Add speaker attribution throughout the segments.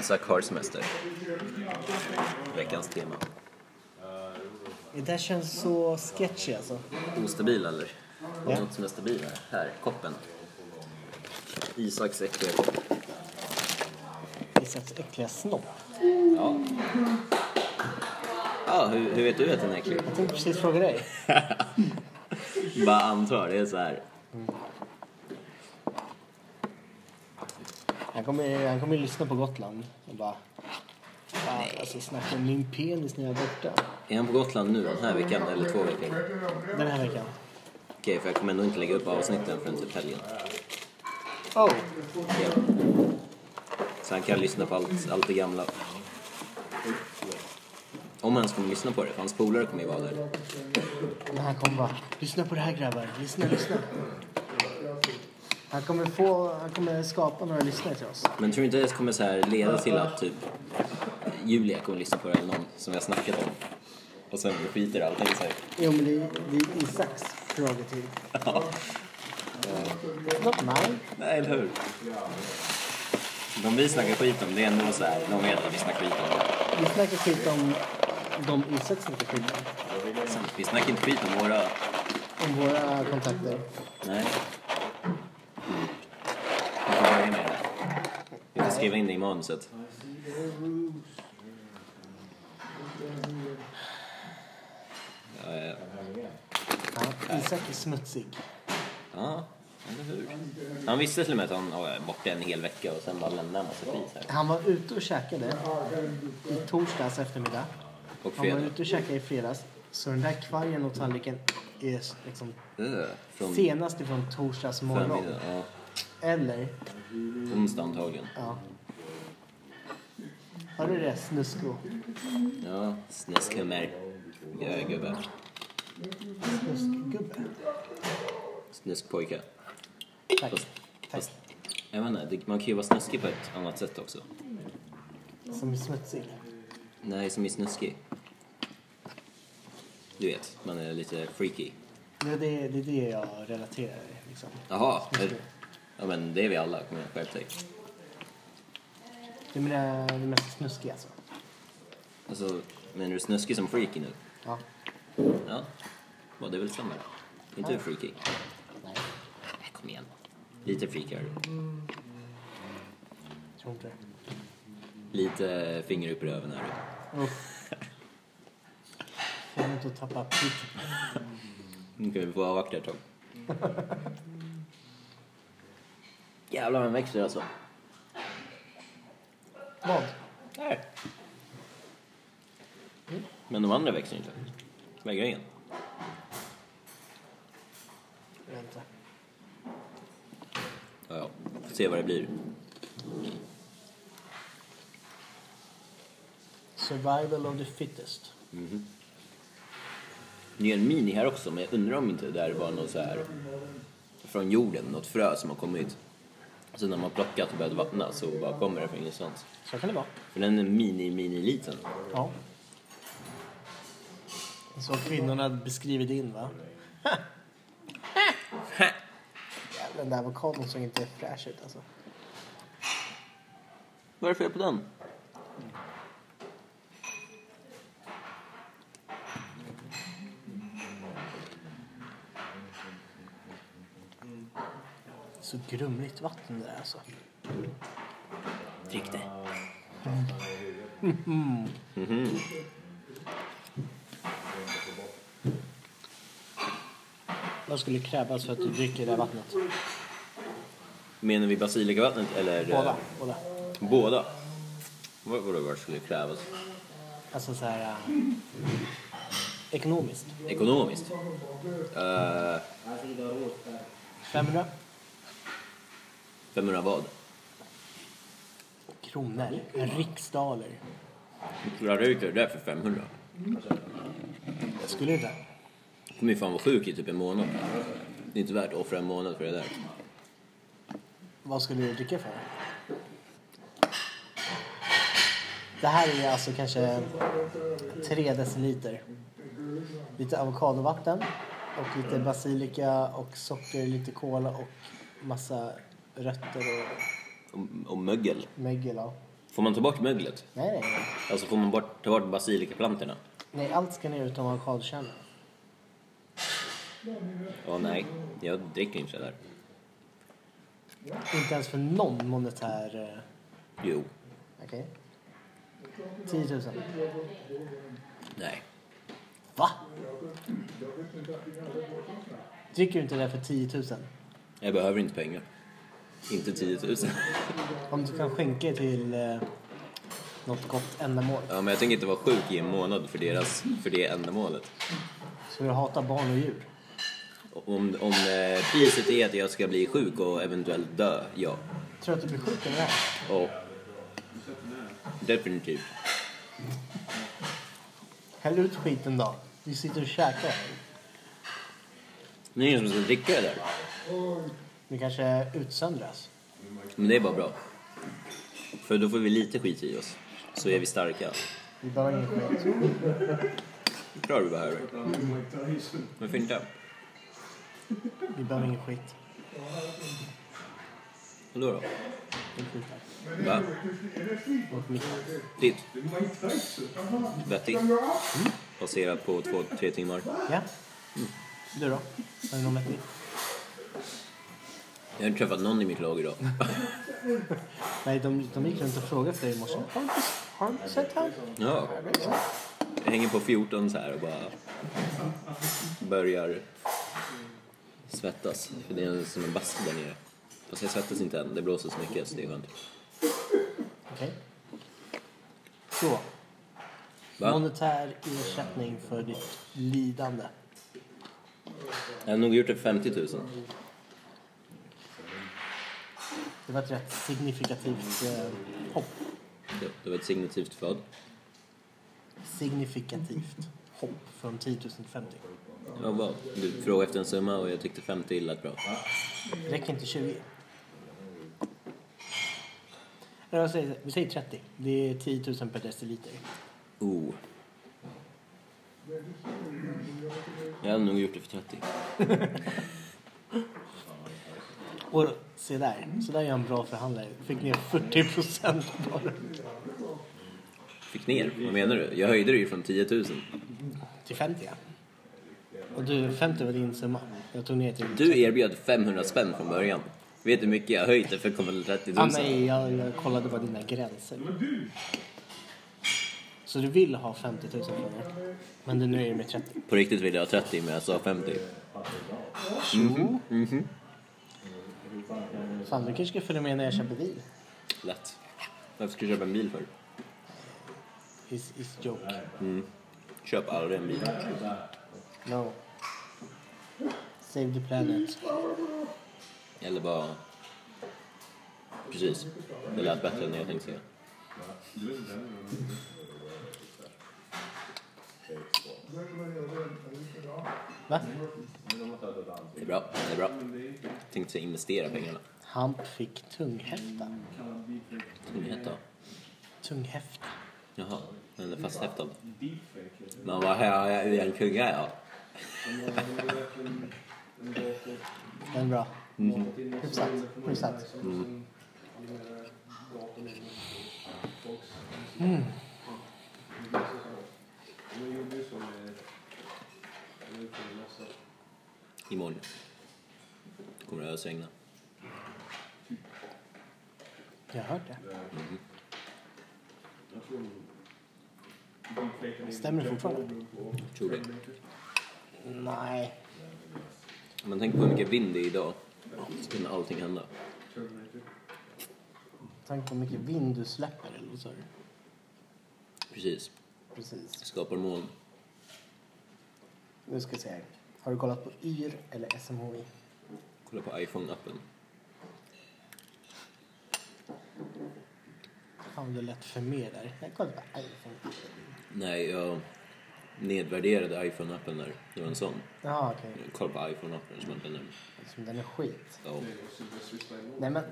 Speaker 1: Isak har semester. Veckans tema.
Speaker 2: Det där känns så sketchy alltså.
Speaker 1: Ostabil eller? Har
Speaker 2: Ja.
Speaker 1: Något som är stabil här. Här, koppen. Isaks äckliga kopp.
Speaker 2: Isaks äckliga snopp.
Speaker 1: Ja. Ja, hur, hur vet du att den är äcklig?
Speaker 2: Jag tänkte precis fråga dig.
Speaker 1: Bara antar, det är så här.
Speaker 2: Han kommer, han kommer lyssna på Gotland och bara... "Fan, Alltså snacka om min penis när jag är borta.
Speaker 1: Är han på Gotland nu den här veckan eller två veckor?
Speaker 2: Den här veckan.
Speaker 1: Okej, för jag kommer ändå inte lägga upp avsnitten förrän typ helgen.
Speaker 2: Oh!
Speaker 1: Ja. Så han kan lyssna på allt, allt det gamla. Om han kommer lyssna på det, för hans polare kommer ju vara där.
Speaker 2: Men han kommer bara... Lyssna på det här grabbar. Lyssna, lyssna. Han kommer få... Han kommer skapa några lyssnare till oss.
Speaker 1: Men tror du inte det kommer så här leda till att typ Julia kommer lyssna på det eller någon som vi har snackat om? Och sen skiter allting sig.
Speaker 2: Jo men det, det är Isaks prerogativ.
Speaker 1: Ja.
Speaker 2: Not mine.
Speaker 1: Nej, eller hur? De vi snackar skit om, det är ändå så här, de vet att vi snackar skit om det.
Speaker 2: Vi snackar skit om de Isak snackar skit om.
Speaker 1: Vi snackar inte skit om våra...
Speaker 2: Om våra kontakter.
Speaker 1: Nej. Vi får börja med det. Vi får skriva in det i manuset. Ja, ja.
Speaker 2: Ja, Isak är smutsig.
Speaker 1: Ja, eller hur? Han visste till och med att han var borta en hel vecka och sen bara lämnade en massa skit här.
Speaker 2: Han var ute och käkade i torsdags eftermiddag.
Speaker 1: Och
Speaker 2: Han var
Speaker 1: fredag.
Speaker 2: ute och käkade i fredags. Så den där kvargen och tallriken är liksom
Speaker 1: Ugh, Från
Speaker 2: senast ifrån torsdags morgon.
Speaker 1: förmiddagen. Ja,
Speaker 2: Eller,
Speaker 1: onsdag antagligen.
Speaker 2: ja. Har du det? Snusko.
Speaker 1: Ja, snuskhummer. Ja, gubbe.
Speaker 2: Snuskgubbe.
Speaker 1: Snuskpojke.
Speaker 2: Tack.
Speaker 1: Fast-
Speaker 2: Tack.
Speaker 1: fast- Jag vet inte, det- man kan ju vara snuskig på ett annat sätt också.
Speaker 2: Som är smutsig.
Speaker 1: Nej, som är snuskig. Du vet, man är lite freaky.
Speaker 2: Ja, det, är- det är det jag relaterar liksom.
Speaker 1: Jaha, är- ja men det är vi alla. Kom igen, skärp dig.
Speaker 2: Det är mina- det mest snuskiga alltså.
Speaker 1: Alltså, menar du snuskig som freaky nu?
Speaker 2: Ja.
Speaker 1: Ja, ja det är väl samma då. Inte du freaky?
Speaker 2: Nej,
Speaker 1: Nej, kom igen. Lite freaky är du.
Speaker 2: jag tror inte det.
Speaker 1: Lite finger upp i röven är du.
Speaker 2: Uff. Jag kommer inte att tappa aptiten.
Speaker 1: Nu kan vi få avvakta ett tag. Jävlar vad den växer alltså.
Speaker 2: Vad?
Speaker 1: Där. Men de andra växer inte. Vad är grejen?
Speaker 2: Vänta.
Speaker 1: Ja, ja. Får se vad det blir.
Speaker 2: Survival of the fittest.
Speaker 1: Det är en mini här också, men jag undrar om inte det där var något så här från jorden, något frö som har kommit. Så när man plockat och börjat vattna så bara kommer det från ingenstans.
Speaker 2: Så kan det vara.
Speaker 1: För den är mini, mini liten.
Speaker 2: Ja. Så kvinnorna beskrivit in va? Jävlar, den där avokadon såg inte fräsch ut alltså.
Speaker 1: Vad är det fel på den?
Speaker 2: Så grumligt vatten det där alltså.
Speaker 1: Drick det.
Speaker 2: Vad skulle krävas för att du dricker det här vattnet?
Speaker 1: Menar vi basilikavattnet eller?
Speaker 2: Båda. Båda.
Speaker 1: Båda? Vad vad det var skulle krävas?
Speaker 2: Alltså så här... eh, ekonomiskt.
Speaker 1: Ekonomiskt? Eh,
Speaker 2: 500
Speaker 1: 500 vad?
Speaker 2: kronor. Riksdaler.
Speaker 1: Drar du ut det där för 500?
Speaker 2: Jag skulle inte.
Speaker 1: kommer ju fan vara sjuk i typ en månad. Det är inte värt att offra en månad för det där.
Speaker 2: Vad skulle du dricka för? Det här är alltså kanske 3 deciliter. Lite avokadovatten och lite basilika och socker, lite cola och massa rötter och
Speaker 1: Och, och mögel.
Speaker 2: mögel. ja.
Speaker 1: Får man ta bort möglet?
Speaker 2: Nej, nej, nej.
Speaker 1: Alltså får man bort, ta bort basilikaplantorna?
Speaker 2: Nej, allt ska ner utom avokadokärnan.
Speaker 1: Åh nej, jag dricker inte det där.
Speaker 2: Inte ens för någon monetär... eh,
Speaker 1: Jo.
Speaker 2: Okej. 10 000.
Speaker 1: Nej.
Speaker 2: Va? Dricker du inte det för 10 000?
Speaker 1: Jag behöver inte pengar. Inte 10 000.
Speaker 2: Om du kan skänka det till eh, något gott ändamål.
Speaker 1: Ja, men jag tänker inte vara sjuk i en månad för, deras, för det ändamålet.
Speaker 2: Så du hatar barn och djur?
Speaker 1: Om, om eh, priset är att jag ska bli sjuk och eventuellt dö, ja.
Speaker 2: Tror du att du blir sjuk eller? nej?
Speaker 1: Och definitivt.
Speaker 2: Häll ut skiten då. Vi sitter och käkar.
Speaker 1: Det är ingen som ska dricka det där.
Speaker 2: Det kanske utsöndras.
Speaker 1: Men det är bara bra. För då får vi lite skit i oss. Så är vi starka.
Speaker 2: Vi behöver ingen skit.
Speaker 1: Det tror jag vi behöver. Varför inte?
Speaker 2: Vi behöver ingen skit.
Speaker 1: Vadå då?
Speaker 2: Vi skitar.
Speaker 1: Va?
Speaker 2: Vårt mitt.
Speaker 1: Ditt? Vettigt? Baserat på två, tre timmar.
Speaker 2: Ja. Du då? Har du någon vettig?
Speaker 1: Jag har inte träffat någon i mitt lag idag.
Speaker 2: Nej, de, de gick runt och frågade efter dig i morse. Har du inte- Har du inte sett han?
Speaker 1: Ja. Jag hänger på 14 så här och bara börjar svettas. För det är som en bastu där nere. Fast jag svettas inte än, det blåser så mycket så det är skönt.
Speaker 2: Okej. Så.
Speaker 1: Va?
Speaker 2: Monetär ersättning för ditt lidande.
Speaker 1: Jag har nog gjort det för 50 000.
Speaker 2: Det var ett rätt signifikativt eh, hopp.
Speaker 1: Det, det var ett signitivt vad?
Speaker 2: Signifikativt hopp från 10 000 till 50. 000.
Speaker 1: Ja, vad? Du frågade efter en summa och jag tyckte 50 illa bra.
Speaker 2: Räcker inte 20? Eller vad säger, vi säger 30. Det är 10 000 per deciliter.
Speaker 1: Oh. Jag hade nog gjort det för 30.
Speaker 2: Och se där, så där är jag en bra förhandlare. Fick ner 40 procent bara.
Speaker 1: Fick ner? Vad menar du? Jag höjde det ju från 10 000.
Speaker 2: Till 50 ja. Och du, 50 var din summa. Jag tog ner till...
Speaker 1: Du erbjöd 500 spänn från början. Vet du hur mycket jag höjt det för att komma till 30 000?
Speaker 2: Ah, nej, jag, jag kollade bara dina gränser. Så du vill ha 50 000 kronor. Men du nu är det med 30.
Speaker 1: På riktigt ville jag ha 30 men jag sa 50.
Speaker 2: Jo. Fan, du kanske ska följa med när jag köper bil.
Speaker 1: Lätt. Varför ska du köpa en bil för?
Speaker 2: Is, is joke.
Speaker 1: Köp aldrig en bil.
Speaker 2: No. Save the planet.
Speaker 1: Eller bara... Precis. Det lät bättre än jag tänkte säga.
Speaker 2: Va?
Speaker 1: Det är bra. Det är bra. Tänkte investera pengarna.
Speaker 2: Hamp fick tunghäfta.
Speaker 1: Tunghäfta.
Speaker 2: Tunghäfta.
Speaker 1: Jaha. Den är fasthäftad. Men vad har jag i en kugga ja?
Speaker 2: Den är bra. Hyfsat. Hyfsat.
Speaker 1: Imorgon. Kommer det ösregna.
Speaker 2: Jag har hört det. Stämmer det fortfarande?
Speaker 1: Tror det.
Speaker 2: Nej.
Speaker 1: Om man tänker på hur mycket vind det är idag så kan allting hända.
Speaker 2: Tänk på hur mycket vind du släpper eller vad sa du?
Speaker 1: Precis.
Speaker 2: Precis.
Speaker 1: Skapar moln.
Speaker 2: Nu ska vi se här. Har du kollat på YR eller SMHI?
Speaker 1: Kolla på iPhone-appen.
Speaker 2: Fan vad du lät för mer där. Jag kollade på iPhone.
Speaker 1: Nej, jag nedvärderade iPhone-appen där. Det var en sån.
Speaker 2: Jaha okej.
Speaker 1: Jag kollade på iPhone-appen som inte nämnde.
Speaker 2: Som den är skit.
Speaker 1: Ja.
Speaker 2: Nej men.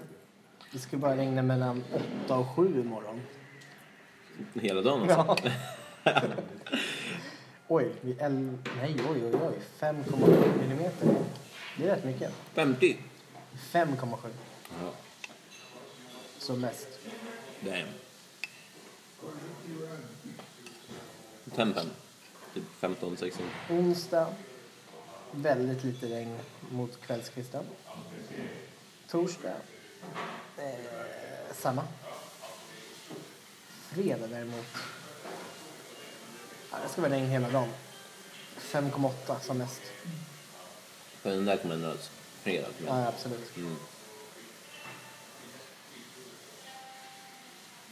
Speaker 2: Det ska bara regna mellan 8 och 7 imorgon.
Speaker 1: Hela dagen alltså?
Speaker 2: Ja. oj, vi el... Nej oj oj oj. 5,7 millimeter. Det är rätt mycket.
Speaker 1: 50!
Speaker 2: 5,7
Speaker 1: Ja.
Speaker 2: som mest.
Speaker 1: Damn. Tempen. Typ 15-16.
Speaker 2: Onsdag, väldigt lite regn mot kvällskvisten. Torsdag, eh, samma. Fredag däremot, ja, det ska vara regn hela dagen. 5,8 som mest.
Speaker 1: Men den där kommer ändras. Fredag kommer
Speaker 2: Ja,
Speaker 1: ändras.
Speaker 2: absolut.
Speaker 1: Mm.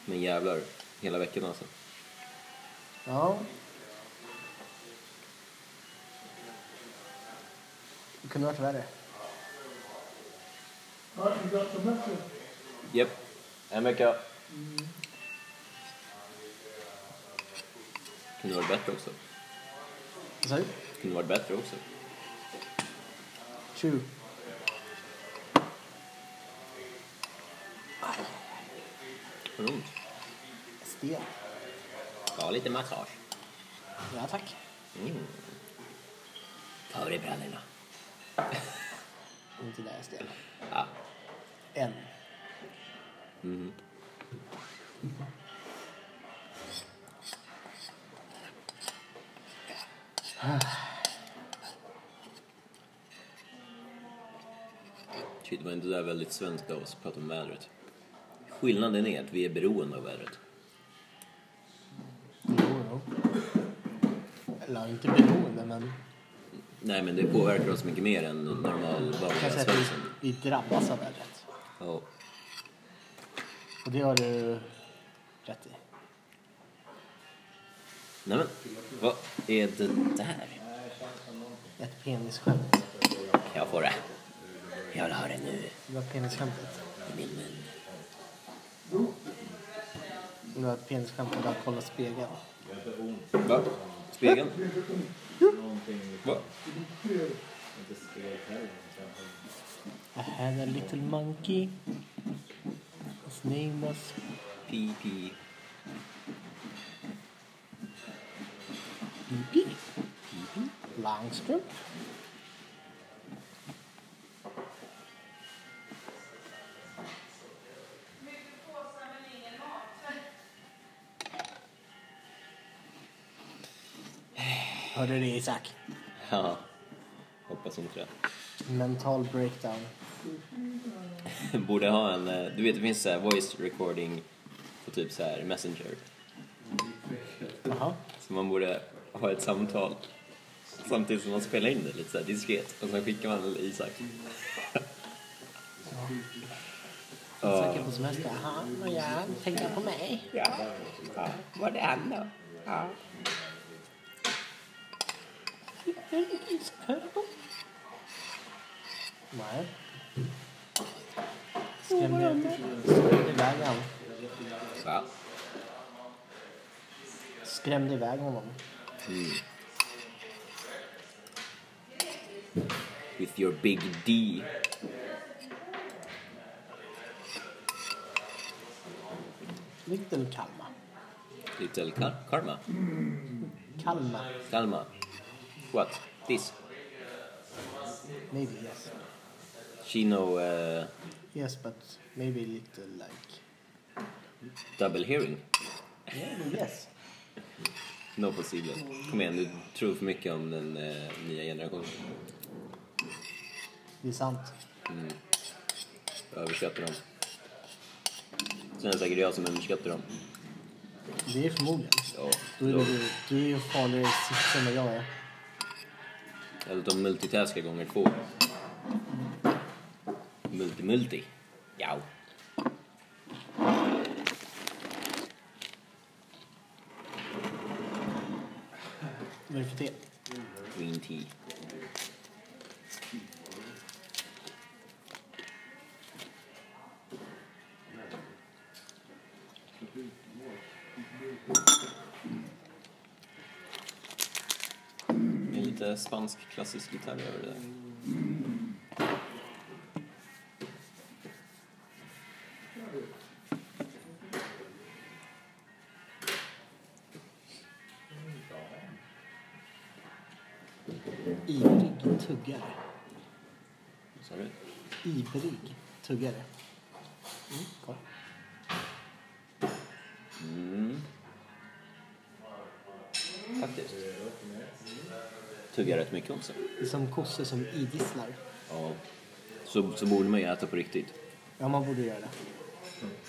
Speaker 1: Men jävlar, hela veckan alltså.
Speaker 2: Ja. Det kunde varit värre.
Speaker 1: Japp. En vecka. Kunde varit bättre också.
Speaker 2: Vad sa du?
Speaker 1: Kunde varit bättre också.
Speaker 2: True.
Speaker 1: Har du ont?
Speaker 2: Stel.
Speaker 1: Ta lite massage.
Speaker 2: Ja, tack.
Speaker 1: Mm. Ta av dig brallorna.
Speaker 2: Inte där jag stel.
Speaker 1: Ja.
Speaker 2: Än.
Speaker 1: Shit, det var inte där väldigt svenskt av oss att prata om vädret. Skillnaden är att vi är beroende av vädret.
Speaker 2: Jo, jo. Eller inte beroende, men
Speaker 1: Nej, men det påverkar oss mycket mer än normal vanliga
Speaker 2: kanske att vi,
Speaker 1: svensken.
Speaker 2: vi drabbas av vädret.
Speaker 1: Ja.
Speaker 2: Och det har du rätt i.
Speaker 1: Nej men, vad är det där?
Speaker 2: Ett penisskämt.
Speaker 1: Kan jag få det? Jag vill ha det nu,
Speaker 2: Det var penisskämtet.
Speaker 1: i min mun.
Speaker 2: Det var ett penisskämt att bara kolla spegeln.
Speaker 1: Va? Spegeln? Va?
Speaker 2: I had a little monkey. His name was...
Speaker 1: Pi-pi.
Speaker 2: Pippi. Langstrump. Hörde du det Isak?
Speaker 1: Ja. Hoppas inte det.
Speaker 2: Mental breakdown.
Speaker 1: Borde ha en, eh, du vet det finns så här voice recording på typ så här messenger.
Speaker 2: Jaha.
Speaker 1: Så man borde ha ett samtal samtidigt som man spelar in det lite så här diskret och sen skickar man till Isak.
Speaker 2: Isak är på semester. Han och jag tänker på mig.
Speaker 1: Ja. ja. Var är han då? Ja.
Speaker 2: Isak, hör du? Nej. Skrämde skrämde iväg honom.
Speaker 1: Va?
Speaker 2: Skrämde iväg honom.
Speaker 1: With your big D.
Speaker 2: Little Kalma.
Speaker 1: Little kar- karma.
Speaker 2: Kalma.
Speaker 1: Kalma. What? This?
Speaker 2: Maybe yes.
Speaker 1: Chino uh,
Speaker 2: Yes, but maybe little like...
Speaker 1: double hearing?
Speaker 2: Maybe yes.
Speaker 1: No possible. Kom igen, du tror för mycket om den eh, nya generationen.
Speaker 2: Det är sant.
Speaker 1: Överskattar dem. Sen är det säkert jag som underskattar dem.
Speaker 2: Det är förmodligen.
Speaker 1: Ja.
Speaker 2: Då är du, du är ju farligare sist än vad jag är.
Speaker 1: Eller de multitaskar gånger två. Multi-multi. Ja.
Speaker 2: Vad är det för te?
Speaker 1: Green tea. Det är lite spansk klassisk gitarr över det där.
Speaker 2: Ivrig tuggare.
Speaker 1: Vad sa du?
Speaker 2: Ivrig tuggare. Mm, kolla.
Speaker 1: Mm. faktiskt. Tuggar rätt mycket också.
Speaker 2: Det är som kossor som idisslar.
Speaker 1: Ja. Så, så borde man ju äta på riktigt.
Speaker 2: Ja, man borde göra det.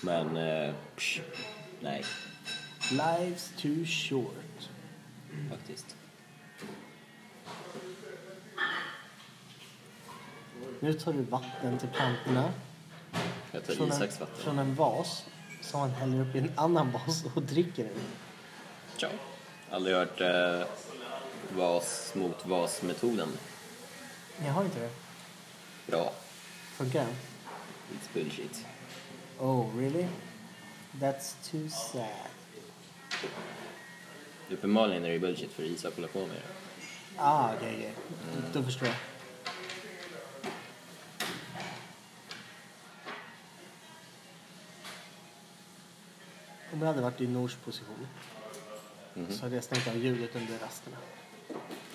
Speaker 1: Men, eh, psh, nej
Speaker 2: Life's too short.
Speaker 1: faktiskt.
Speaker 2: Nu tar du vatten till plantorna
Speaker 1: Jag tar
Speaker 2: från en,
Speaker 1: Isaks vatten.
Speaker 2: från en vas som han häller upp i en annan vas och dricker den.
Speaker 1: Ciao. Aldrig hört eh, vas mot vas-metoden.
Speaker 2: Jag har inte det.
Speaker 1: Bra.
Speaker 2: Funkar den?
Speaker 1: It's bullshit.
Speaker 2: Oh, really? That's too sad.
Speaker 1: Uppenbarligen är det bullshit för Isak håller på med det.
Speaker 2: Ah, okej, okej. Då förstår jag. Om jag hade varit i Nors position så hade jag stängt av ljudet under rasterna.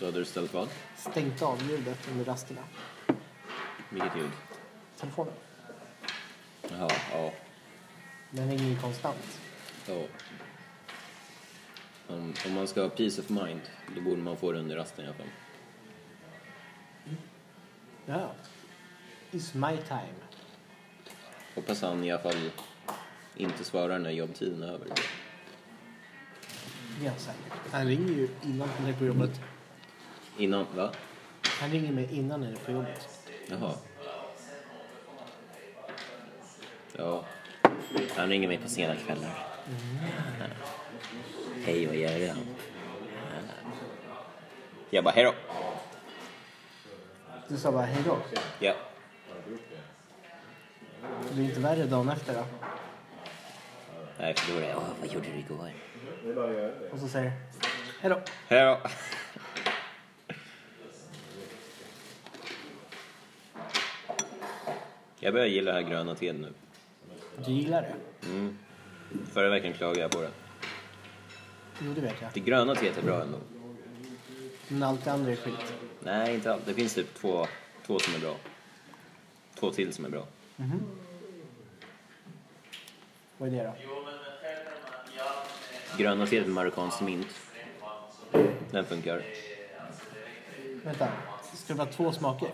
Speaker 1: Då hade du ställt vad?
Speaker 2: Stängt av ljudet under rasterna.
Speaker 1: Vilket ljud?
Speaker 2: Telefonen.
Speaker 1: Jaha, ja.
Speaker 2: Den ringer ju konstant.
Speaker 1: ja. Om, om man ska ha peace of mind, då borde man få det under rasten i alla fall.
Speaker 2: Ja. It's my time.
Speaker 1: Hoppas han i alla fall inte svarar när jobbtiden är över.
Speaker 2: Det är alltså. han säkert. Han ringer ju innan han är på jobbet.
Speaker 1: Innan, va?
Speaker 2: Han ringer mig innan han är på jobbet.
Speaker 1: Jaha. Ja. Han ringer mig på sena kvällar. Ja. Hej, vad gör du? Ja. Jag bara, hejdå.
Speaker 2: Du sa bara hej då.
Speaker 1: Ja.
Speaker 2: Det blir inte värre dagen efter då?
Speaker 1: Nej, för då är det, "Åh, vad gjorde du igår?
Speaker 2: Och så säger hej då.
Speaker 1: Hejdå. Jag börjar gilla det här gröna teet nu.
Speaker 2: Du gillar det?
Speaker 1: Förra veckan klagade jag på det.
Speaker 2: Jo, det vet jag.
Speaker 1: Det gröna teet är bra ändå.
Speaker 2: Men allt det andra är skit.
Speaker 1: Nej, inte allt. Det finns typ två, två som är bra. Två till som är bra.
Speaker 2: Vad är det då?
Speaker 1: Gröna teet med marockansk mint. Den funkar.
Speaker 2: Vänta. Ska det vara två smaker?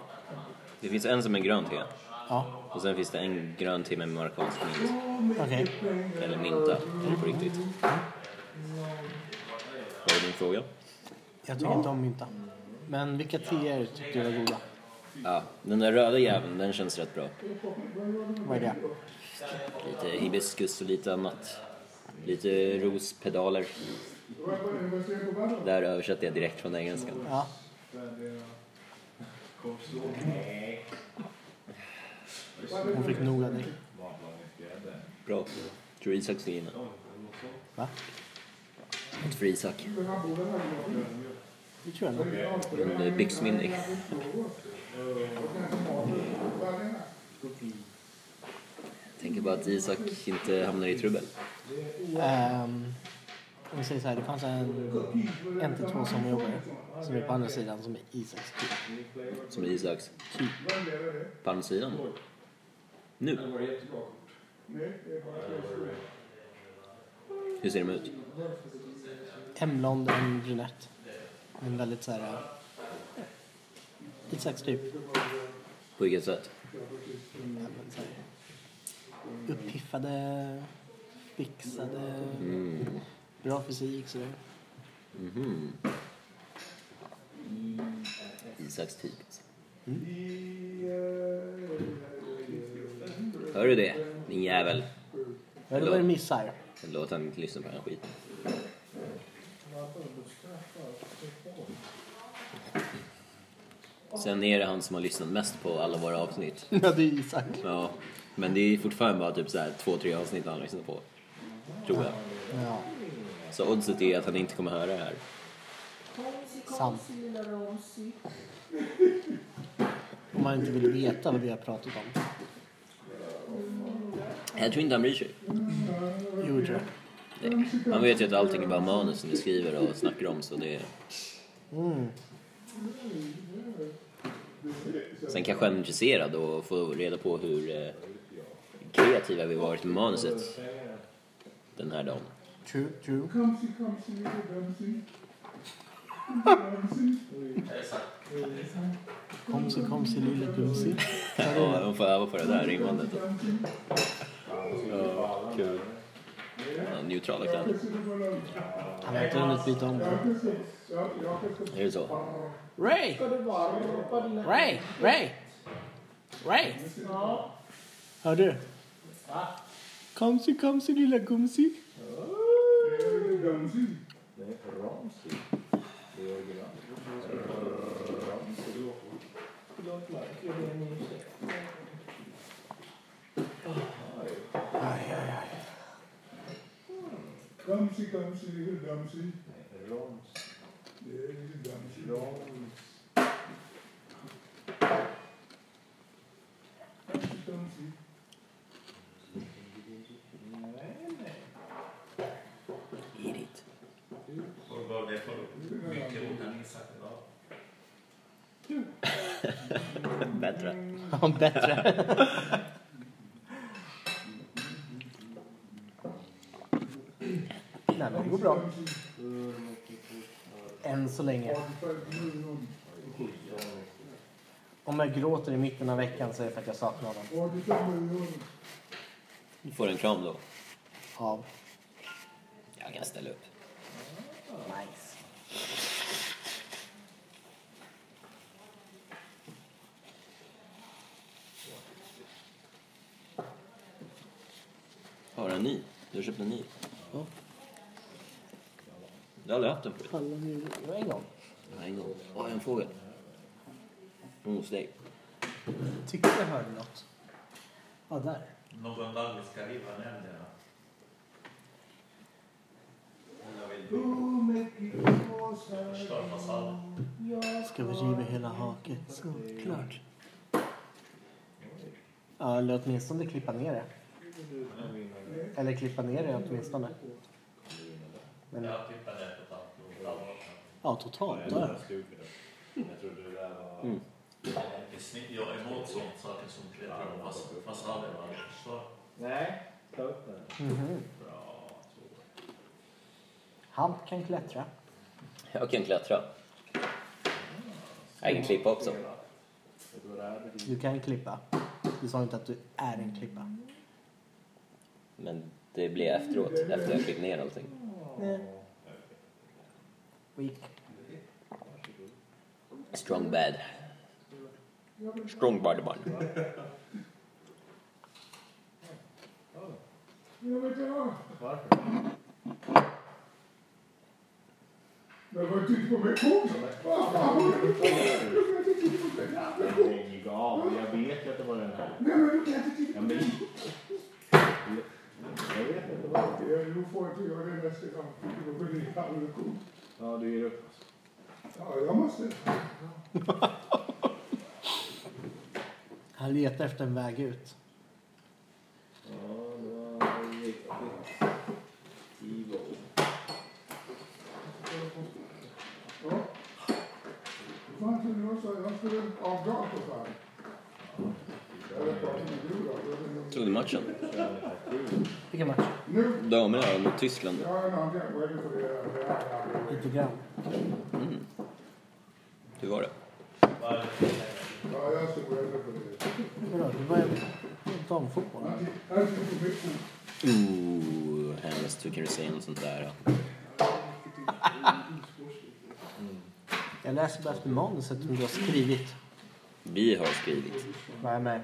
Speaker 1: Det finns en som är grön te.
Speaker 2: Ja.
Speaker 1: Och sen finns det en grön te med marockansk mint.
Speaker 2: Okej.
Speaker 1: Eller minta, eller på riktigt. Vad är din fråga?
Speaker 2: Jag tycker inte om mynta. Men vilka teer tyckte du var goda?
Speaker 1: Ja, den där röda jäveln, den känns rätt bra.
Speaker 2: Vad är det?
Speaker 1: Lite hibiskus och lite annat. Lite rospedaler. Där översätter jag direkt från engelskan.
Speaker 2: Ja. Hon fick nog av dig.
Speaker 1: Bra. Tror Isak ska gilla.
Speaker 2: Va?
Speaker 1: Inte för Isak.
Speaker 2: Det tror jag nog.
Speaker 1: Men det är byxmyndig. Tänker bara att Isak inte hamnar i trubbel.
Speaker 2: Ehm, om vi säger så här, det fanns en, en till två sommarjobbare som är på andra sidan som är Isaks typ.
Speaker 1: Som är Isaks. På andra sidan. Nu. Hur ser de ut?
Speaker 2: hemblond och en brunett. En väldigt så här... eh, Isaks typ.
Speaker 1: På vilket sätt?
Speaker 2: Ja, men så här, Uppiffade, fixade,
Speaker 1: Mm.
Speaker 2: bra fysik sådär.
Speaker 1: Isaks typ. Hör du det, din jävel?
Speaker 2: Jag vet inte vad du missar.
Speaker 1: Låt han inte lyssna på den här skiten. Sen är det han som har lyssnat mest på alla våra avsnitt.
Speaker 2: Ja, det är Isak.
Speaker 1: Ja, men det är fortfarande bara typ så här två, tre avsnitt han lyssnar på. Tror jag.
Speaker 2: Ja,
Speaker 1: Så oddset är att han inte kommer höra det här.
Speaker 2: sant. Om man inte vill veta vad vi har pratat om.
Speaker 1: Jag tror inte han bryr sig.
Speaker 2: Jo, det tror jag.
Speaker 1: Nej. Han vet ju att allting är bara manus som vi skriver och snackar om så det... Sen kanske han är intresserad och får reda på hur eh, kreativa vi varit med manuset den här dagen.
Speaker 2: True, true. Komsi, komsi, lille gumsi.
Speaker 1: Ja, de får öva på det där rimmandet.
Speaker 3: Ja, kul.
Speaker 1: Ja, neutrala kläder.
Speaker 2: Han har inte hunnit byta om det.
Speaker 1: Är det så?
Speaker 2: Ray! Ray! Ray! Ray! Hörde du? Komsi, komsi, lilla gumsi.
Speaker 4: Gamsi, gamsi, lille gamsi. Det är lille gamsi. Gamsi, gamsi.
Speaker 1: Irit. Bättre.
Speaker 2: Ja, bättre. Nej, men det går bra. Än så länge. Om jag gråter i mitten av veckan så är det för att jag saknar honom.
Speaker 1: Du får en kram då.
Speaker 2: Av.
Speaker 1: Jag kan ställa upp.
Speaker 2: Nice.
Speaker 1: Har du en ny? Du har köpt en ny? Du har aldrig haft en förut?
Speaker 2: Det var en gång.
Speaker 1: Nej, en gång. Åh, jag har en fågel. Hon hos dig.
Speaker 2: Tyckte jag hörde något. Ja, där.
Speaker 5: Någon dag vi ska riva ner den. Eller vill
Speaker 4: Du
Speaker 5: du
Speaker 4: mäcker kåsar.
Speaker 5: förstöra fasaden?
Speaker 2: Ska vi riva hela haket såklart. Ja, eller åtminstone klippa ner det. Eller klippa ner det åtminstone. Men
Speaker 5: Jag tippar ner på tanten.
Speaker 2: ja, totalt där.
Speaker 3: Jag trodde det där var...
Speaker 5: Jag är emot sånt saker som klättrar på fas- fasader. va? Förstår?
Speaker 3: Nej, ta upp den. Bra.
Speaker 2: Han kan klättra.
Speaker 1: Jag kan klättra. Jag kan klippa också.
Speaker 3: Vet du vad det här betyder?
Speaker 2: Du kan klippa. Du sa inte att du är en klippa.
Speaker 1: Men det blir efteråt, efter jag klippt ner allting.
Speaker 2: Nej. Weak.
Speaker 1: Strong bad. Strong bad man.
Speaker 4: Jag vet inte vad.
Speaker 3: Varför?
Speaker 4: Men vad tycker du om mig?
Speaker 3: Lägg av, jag vet ju att det var den här.
Speaker 4: Nej, men du kan inte titta
Speaker 3: Ja,
Speaker 4: på
Speaker 3: men...
Speaker 4: mig.
Speaker 3: Jag vet att det var den.
Speaker 4: Ja, Nu får inte jag det nästa gång. Då blir det alldeles coolt.
Speaker 3: Ja, du ger upp. alltså.
Speaker 4: Ja, jag måste.
Speaker 2: Han letar efter en väg ut.
Speaker 3: Ja, det var riktigt. Tivo.
Speaker 4: Ja. Fan, så nu sa jag, jag skulle avgå för fan. Eller vad som är nu då? Jag vet inte.
Speaker 1: Såg du matchen?
Speaker 2: Vilken match?
Speaker 4: Nu,
Speaker 1: Damerna här mot Tyskland.
Speaker 4: jag har en annan redo för det här. Det här. är-
Speaker 2: Lite grann.
Speaker 1: Hur var det?
Speaker 5: Vad är det för tänk?
Speaker 4: Ja, jag är så redo för det.
Speaker 2: Vadå, det var ju damfotboll.
Speaker 4: Han tycker- Han tycker på mitt
Speaker 1: Ooh, hemskt. Hur kan du säga något sånt där?
Speaker 2: Jag läser bara efter manuset som du har skrivit.
Speaker 1: Vi har skrivit.
Speaker 2: Nej, nej.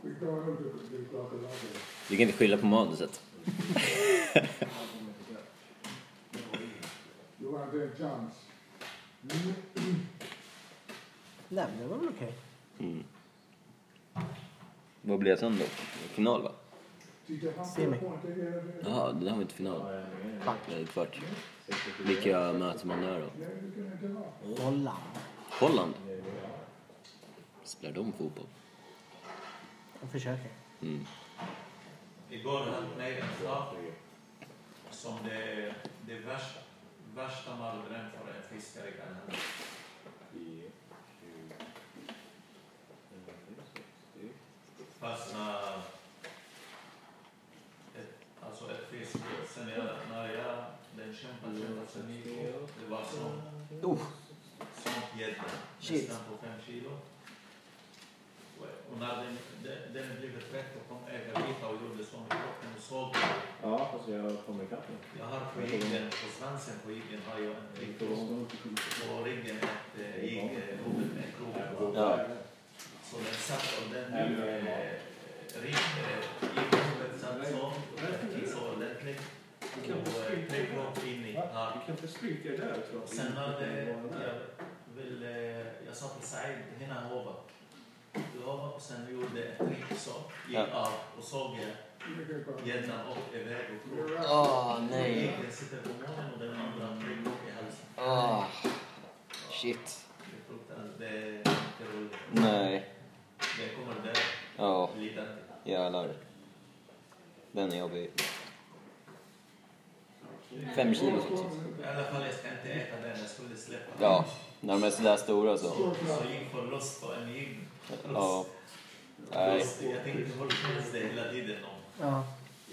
Speaker 4: Vi klarar inte det. Vi klarar inte det.
Speaker 1: Du kan inte skylla på manuset.
Speaker 4: Du har inte en chans.
Speaker 2: Nej, men det var väl okej.
Speaker 1: Vad blev sen då? Final va?
Speaker 4: Titta, han
Speaker 2: Se mig.
Speaker 4: får inte hela det.
Speaker 1: Jaha, det där var inte final.
Speaker 2: Fuck.
Speaker 1: Det är kvart. Vilka möter man där då?
Speaker 4: Nej, det kan inte vara.
Speaker 2: Holland.
Speaker 1: Holland? Spelar de fotboll?
Speaker 2: Jag försöker.
Speaker 1: Mm.
Speaker 5: Igår höll mig en sak som det, det värsta, värsta mardröm för en fiskare kan hända. fastna ett, alltså ett fiske. Sen jag, när jag, den kämpade, kämpade för mycket. Det var som,
Speaker 2: Oh,
Speaker 5: som gädda.
Speaker 2: Shit.
Speaker 5: Nästan på fem kilo. Och- Och när den, den, den blev trött och kom övervikt och gjorde sån kropp, den såg
Speaker 3: Ja, fast jag kommer ikapp nu.
Speaker 5: Jag har på ryggen, på svansen på ryggen har jag en prick och på ryggen ett eh, ägg, eh, huvud med krok.
Speaker 1: Ja.
Speaker 5: Så den satt och den blev eh, ring- eh, i huvudet satt så, eh, så ordentligt. Och eh, tre kropp in i
Speaker 6: Du
Speaker 5: armen.
Speaker 6: kan inte stryka dig där tror jag.
Speaker 5: Och sen när det,
Speaker 6: Bara där.
Speaker 5: jag ville, jag sa till Said, hinna hova. Du hovar och sen gjorde ett trick så, gick av och såg jag gäddan upp i väg och krok.
Speaker 2: Åh, nej.
Speaker 5: Den sitter på månen och den andra trycker upp i halsen.
Speaker 1: Ah, shit.
Speaker 5: Det är fruktansvärt. Det är inte roligt.
Speaker 1: Nej.
Speaker 5: Det kommer där
Speaker 1: Ja,
Speaker 5: lidande.
Speaker 1: jävlar. Den är jobbig. Fem kilo sånt.
Speaker 5: I alla fall, jag ska inte äta den. Jag skulle släppa den.
Speaker 1: Ja, när de är sådär stora så.
Speaker 5: Så jag gick förlust på en gig.
Speaker 1: Alltså. Ja. Nej.
Speaker 5: Förlust. Jag tänkte vad finns det hela tiden om.
Speaker 2: Ja.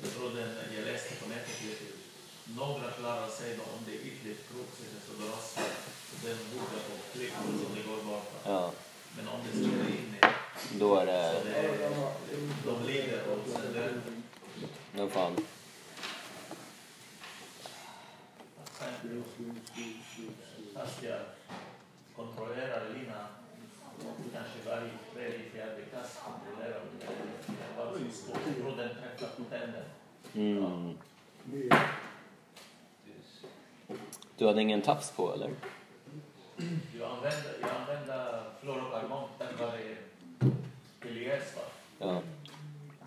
Speaker 5: Jag trodde, jag läste på nätet lite. Några klarar sig då om det är ytligt kroppsligt så det rasar. Så den hugger och klipper så det går bara.
Speaker 1: Ja,
Speaker 5: Men om det slår in i
Speaker 1: då är
Speaker 5: så
Speaker 1: det...
Speaker 5: det, de lider och sen det.
Speaker 1: Vad fan.
Speaker 5: Fast jag kontrollerar Lina kanske varje tredje, fjärde klass. Kontrollerar vad som står. Jag tror den träffar tänder.
Speaker 1: Mm. Du hade ingen tafs på eller?
Speaker 5: Jag använder, jag använder fluorokarbon tack vare Elias. va?
Speaker 1: Ja.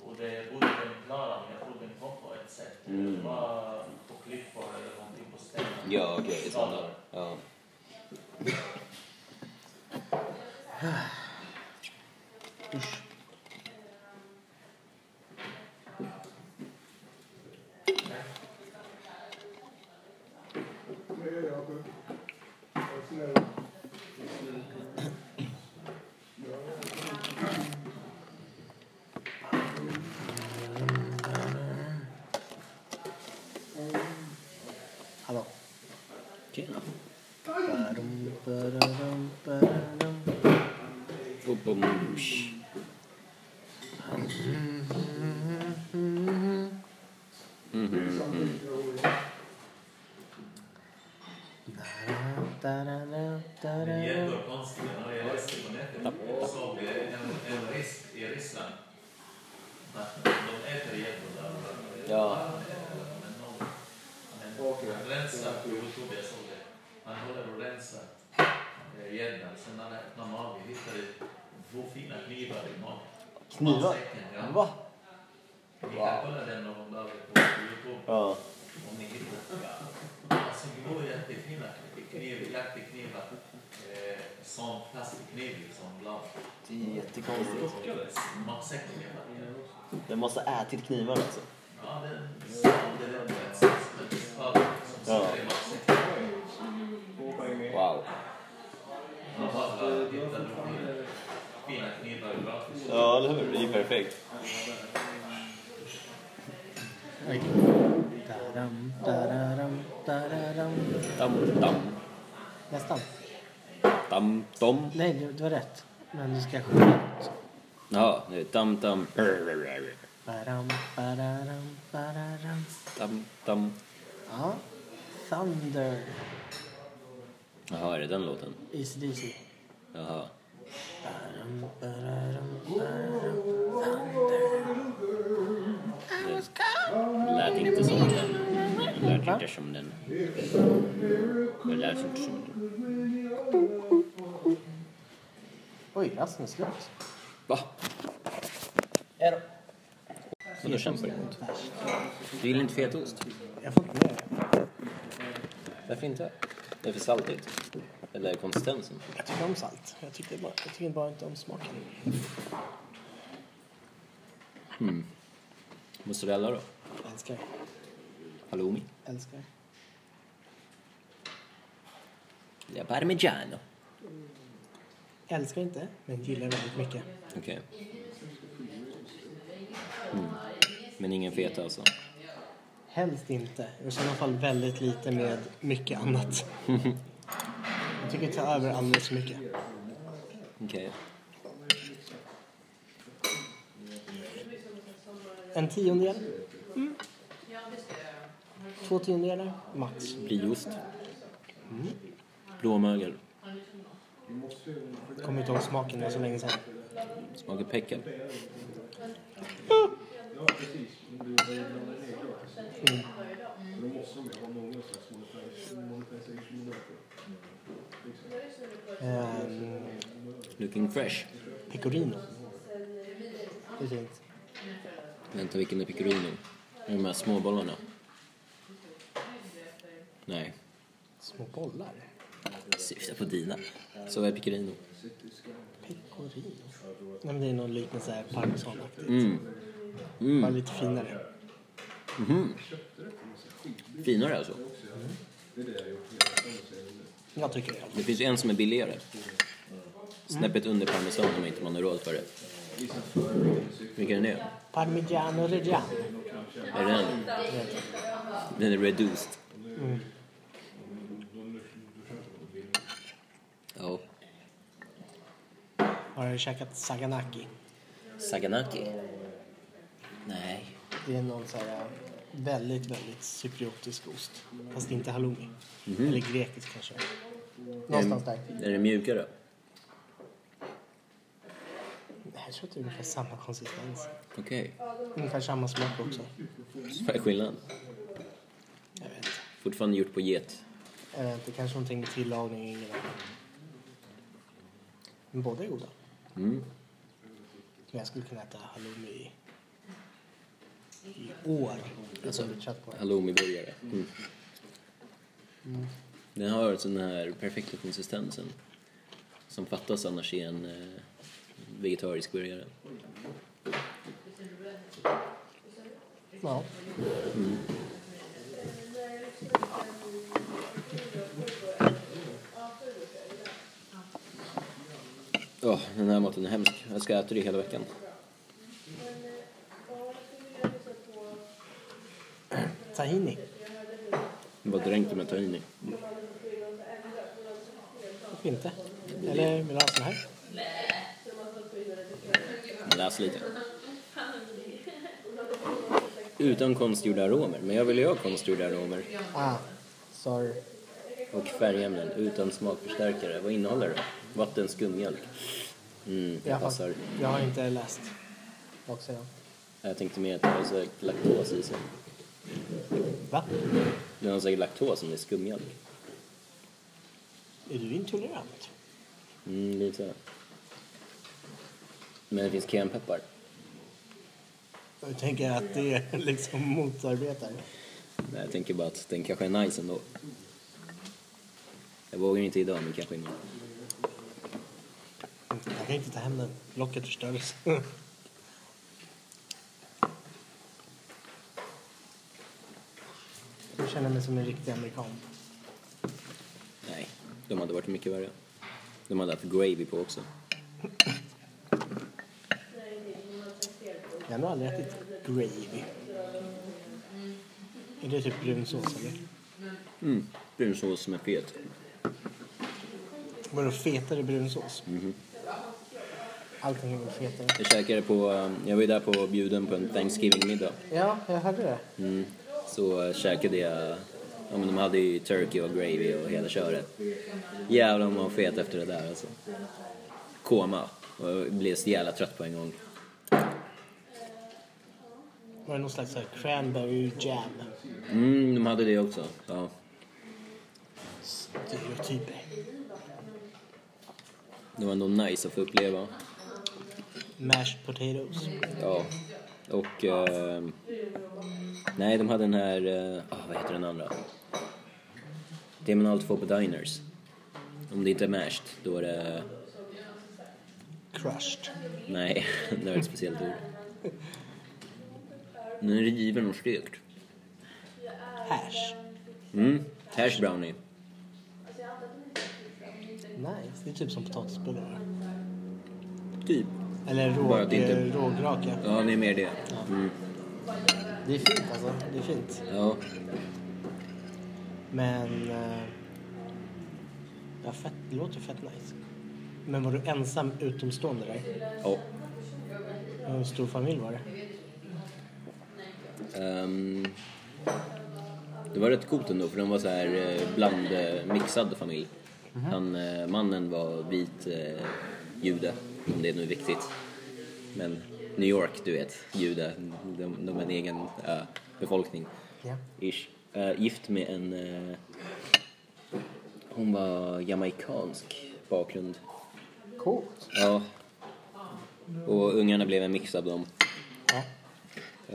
Speaker 5: Och det borde den klara, men jag tror den kom på ett sätt.
Speaker 1: Mm.
Speaker 5: Det var på klippor eller någonting på stenen.
Speaker 1: Ja, okej. Okay, sådana. Ja.
Speaker 4: Det är jag. Var snäll.
Speaker 2: Hallå.
Speaker 1: Tjena.
Speaker 2: Badum, badadum, badadum.
Speaker 1: Bo-bo-mosh. Mhm,
Speaker 2: Da-da-da,
Speaker 5: Det är
Speaker 2: da-da-da.
Speaker 5: jättekonstiga när jag läste på nätet. Jag såg en, en risk i Ryssland. Att de äter gäddor där.
Speaker 1: Ja.
Speaker 5: Men någon, han, han rensar på Youtube, jag såg det. Han håller och rensar eh, gäddan. Sen när han öppnar magen hittar de två fina knivar i magen.
Speaker 1: Knivar?
Speaker 5: Matsäcken, Ja.
Speaker 1: Va?
Speaker 5: Ni
Speaker 1: Wow.
Speaker 5: kan kolla den någon dag på Youtube.
Speaker 1: Ja.
Speaker 5: Om ni hittar. Ja. Alltså det var jättefina kniv, jaktknivar. Eh, som plastikkniv liksom. Blad.
Speaker 1: Det är jättekonstigt.
Speaker 5: Matsäcken i magen.
Speaker 1: Den måste ha ätit knivar alltså.
Speaker 5: Ja, den sålde den på ett sätt som en spade som
Speaker 1: Ja.
Speaker 5: sitter i matsäcken.
Speaker 6: Två poäng mer.
Speaker 1: Wow.
Speaker 5: Man bara hittar de fina knivar gratis.
Speaker 1: Ja, eller hur? Det är ju perfekt.
Speaker 2: Oj. Da-dam, da-da-dam, da-da-dam.
Speaker 1: Dam, dam,
Speaker 2: Nästan.
Speaker 1: dam, dom.
Speaker 2: Nej, du, du har rätt. Men du ska sjunga.
Speaker 1: Ja, det är dam, dam.
Speaker 2: Badam, badadam, badadam.
Speaker 1: Dam, dam.
Speaker 2: Ja. Thunder.
Speaker 1: Jaha, är det den låten?
Speaker 2: ACDC.
Speaker 1: Jaha.
Speaker 2: Badam, badadam, badadam.
Speaker 1: Det lät inte som den. Det lät inte som den. Det lät inte som den.
Speaker 2: Oj, alltså, rasten är slut.
Speaker 1: Va?
Speaker 2: Är det?
Speaker 1: Vadå kämpar du emot? Du gillar inte fetaost?
Speaker 2: Jag får inte med det.
Speaker 1: Varför inte? Det är för saltigt. Eller konsistensen.
Speaker 2: Jag tycker om salt. Jag tycker bara, jag tycker bara inte om smaken.
Speaker 1: Mozzarella då?
Speaker 2: Älskar.
Speaker 1: Halloumi?
Speaker 2: Älskar.
Speaker 1: Ja, parmigiano.
Speaker 2: Älskar inte, men gillar väldigt mycket.
Speaker 1: Okej. Mm. Men ingen feta alltså?
Speaker 2: Helst inte. I sådana fall väldigt lite med mycket annat. Jag tycker ta över alldeles för mycket.
Speaker 1: Okej.
Speaker 2: En tiondel? Mm. Två tiondelar? Max.
Speaker 1: Brieost. Mm. Blåmögel.
Speaker 2: Kommer inte ihåg smaken, det var så länge sedan.
Speaker 1: Smakar pekka.
Speaker 6: Ja, precis. Men Du blandar ner gratis. Då måste de ju ha några slags monetize- monetization-modeller.
Speaker 2: Ehm,
Speaker 1: Looking fresh.
Speaker 2: pecorino. Det är fint.
Speaker 1: Vänta, vilken är pecorino? Är det de här småbollarna? Nej.
Speaker 2: Små bollar.
Speaker 1: Syftar på dina. Så vad är pecorino?
Speaker 2: Pecorino. Nej, men det är någon liknelse här parmesanaktigt.
Speaker 1: Mm.
Speaker 2: Bara
Speaker 1: Mm.
Speaker 2: lite finare.
Speaker 1: Mhm. Finare alltså.
Speaker 2: Jag tycker det.
Speaker 1: Det finns ju en som är billigare. Snäppet under parmesan om inte man har råd för det. Vilken är det?
Speaker 2: Parmigiano reggiano.
Speaker 1: Är det den? Den är reduced. Ja.
Speaker 2: Har du käkat saganaki?
Speaker 1: Saganaki? Nej.
Speaker 2: Det är någon så här eh, väldigt, väldigt cypriotisk ost. Fast inte halloumi. Eller grekisk kanske. Någonstans där.
Speaker 1: Är det mjukare?
Speaker 2: Jag tror att det är ungefär samma konsistens.
Speaker 1: Okej.
Speaker 2: Ungefär samma smak också.
Speaker 1: Så vad är skillnaden?
Speaker 2: Jag vet inte.
Speaker 1: Fortfarande gjort på get.
Speaker 2: Jag vet inte. Kanske någonting med tillagning. Ingen aning. Men båda är goda.
Speaker 1: Mm.
Speaker 2: Men jag skulle kunna äta halloumi i, i år. Alltså, kött på.
Speaker 1: Halloumiburgare. Mm. Den har den här perfekta konsistensen som fattas annars i en eh, vegetarisk burgare.
Speaker 2: Ja.
Speaker 1: Ja, den här maten är hemsk. Jag ska äta det hela veckan.
Speaker 2: Tahini.
Speaker 1: Jag bara dränkt med tahini.
Speaker 2: Varför inte? Eller vill du ha en sån här?
Speaker 1: Läs lite. Utan konstgjorda aromer, men jag vill ju ha konstgjorda aromer
Speaker 2: Ah, sorry.
Speaker 1: och färgämnen utan smakförstärkare. Vad innehåller det? Vatten, skummjölk. Mm, det
Speaker 2: Jag har,
Speaker 1: passar.
Speaker 2: jag har inte läst baksidan.
Speaker 1: Jag tänkte mer att det har säkert laktos i sig.
Speaker 2: Va?
Speaker 1: Det har säkert laktos som är skummjölk.
Speaker 2: Är du intolerant?
Speaker 1: Mm, lite. Men det finns cayennepeppar.
Speaker 2: Jag tänker att det liksom motarbetar.
Speaker 1: Nej, jag tänker bara att den kanske är nice ändå. Jag vågar inte idag, men kanske imorgon.
Speaker 2: Jag kan inte ta hem den. Locket förstördes. Jag känner mig som en riktig amerikan.
Speaker 1: Nej, de hade varit mycket värre. De hade haft gravy på också.
Speaker 2: Jag har nog aldrig ätit gravy. Är det typ brunsås eller?
Speaker 1: Mm, brunsås som är fet.
Speaker 2: Vadå fetare brunsås?
Speaker 1: Mhm.
Speaker 2: Allting är väl fetare.
Speaker 1: Jag käkade på, eh, jag var ju där på bjuden på en Thanksgiving-middag.
Speaker 2: Ja, jag hörde det.
Speaker 1: Mm. Så eh, käkade jag, ja men de hade ju turkey och gravy och hela köret. Jävlar om man var fet efter det där alltså. Koma. Och jag blev så jävla trött på en gång.
Speaker 2: Var det någon slags så här cranberry jam?
Speaker 1: Mm, de hade det också. Ja.
Speaker 2: Typ- Stereotyper.
Speaker 1: Det var ändå nice att få uppleva.
Speaker 2: Mashed potatoes.
Speaker 1: Ja. Och... Eh, nej, de hade den här... Eh, ah, vad heter den andra? Det man alltid får på diners. Om det inte är mashed, då är det...
Speaker 2: Crushed.
Speaker 1: Nej, det är ett speciellt ord. Den är riven och stekt.
Speaker 2: Hash.
Speaker 1: Mm. Hash brownie.
Speaker 2: Nice. Det är typ som potatisbullar. va?
Speaker 1: Typ.
Speaker 2: Eller rå,
Speaker 1: Bara att det inte-
Speaker 2: eh, rågraka.
Speaker 1: Ja, det är mer det. Mm.
Speaker 2: Det är fint alltså. Det är fint.
Speaker 1: Ja.
Speaker 2: Men... eh, Ja, fett, det låter ju fett nice. Men var du ensam utomstående där?
Speaker 1: ja.
Speaker 2: Hur stor familj var det?
Speaker 1: Ehm, det var rätt coolt ändå för de var så här eh, bland eh, mixad familj. Han, eh, mannen var vit eh, jude, om det nu är viktigt. Men New York, du vet, jude, de, de är en egen eh, befolkning.
Speaker 2: Ja.
Speaker 1: Ish. Eh, gift med en... eh, hon var jamaicansk bakgrund.
Speaker 2: Coolt.
Speaker 1: Ja. Och ungarna blev en mix av dem.
Speaker 2: Ja.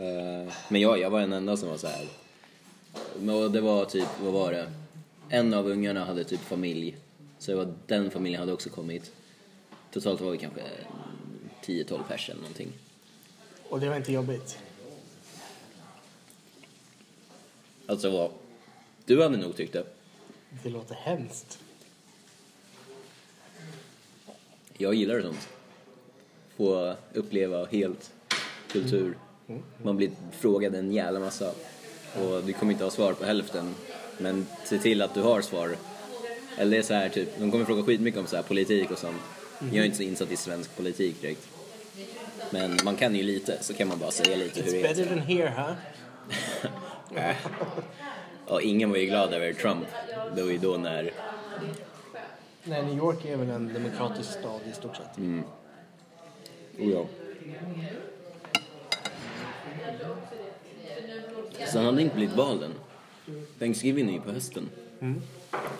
Speaker 1: Eh, Men jag, jag var den enda som var så här. Men Och det var typ, vad var det? En av ungarna hade typ familj. Så det var, den familjen hade också kommit. Totalt var vi kanske 10-12 pers eller någonting.
Speaker 2: Och det var inte jobbigt?
Speaker 1: Alltså vad... Du hade nog tyckt det.
Speaker 2: Det låter hemskt.
Speaker 1: Jag gillar sånt. Få uppleva helt kultur. Man blir frågad en jävla massa. Och du kommer inte ha svar på hälften. Men se till att du har svar. Eller det är så här typ, de kommer fråga skitmycket om så här politik och sånt. Jag är inte så insatt i svensk politik direkt. Men man kan ju lite, så kan man bara säga lite hur
Speaker 2: It's
Speaker 1: det är.
Speaker 2: better than here, huh?
Speaker 1: Ja, ingen var ju glad över Trump. Det var ju då när...
Speaker 2: Nej, New York är väl en demokratisk stad i stort sett.
Speaker 1: Oh ja. Så han hade inte blivit vald än. Thanksgiving är ju på hösten.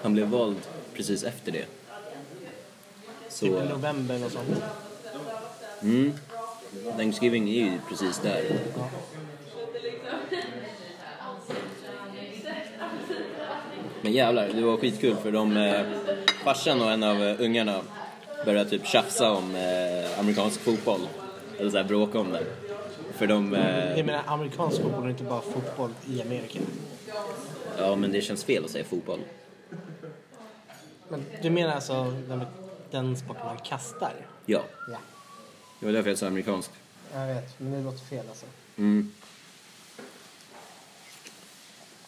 Speaker 1: Han blev vald precis efter det.
Speaker 2: Typ i
Speaker 1: Så
Speaker 2: november och sånt.
Speaker 1: Thanksgiving är ju precis där. Men jävlar, det var skitkul för de... Eh, farsan och en av eh, ungarna började typ tjafsa om eh, amerikansk fotboll. Eller såhär bråka om det. För de... Eh,
Speaker 2: Jag menar, amerikansk fotboll är inte bara fotboll i Amerika.
Speaker 1: Ja, men det känns fel att säga fotboll.
Speaker 2: Men du menar alltså den, den sporten man kastar?
Speaker 1: Ja,
Speaker 2: Ja.
Speaker 1: det var därför jag sa amerikanskt.
Speaker 2: Jag vet, men det låter fel alltså.
Speaker 1: Mm.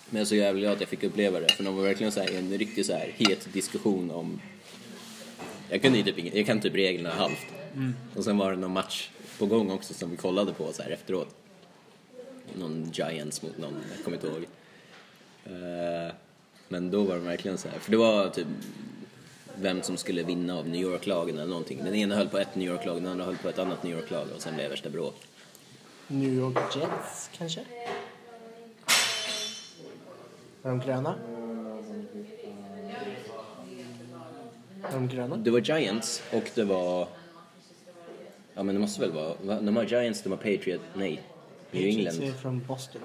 Speaker 1: Men jag är så jävla glad att jag fick uppleva det, för de var verkligen så här, i en riktig så här, het diskussion om... Jag kunde ju typ inget, jag kan typ reglerna halvt. Och sen var det någon match på gång också som vi kollade på så här efteråt. Någon Giants mot någon, jag kommer inte ihåg. Eh, Men då var det verkligen så här, för det var typ vem som skulle vinna av New York-lagen eller någonting. Den ena höll på ett New York-lag, den andra höll på ett annat New York-lag och sen blev det värsta bråk.
Speaker 2: New York Jets kanske? Var de gröna? Var de gröna?
Speaker 1: Det var Giants och det var... Ja men det måste väl vara... va? De har Giants, de har Patriot... Nej. New
Speaker 2: Patriots är
Speaker 1: England.
Speaker 2: från Boston.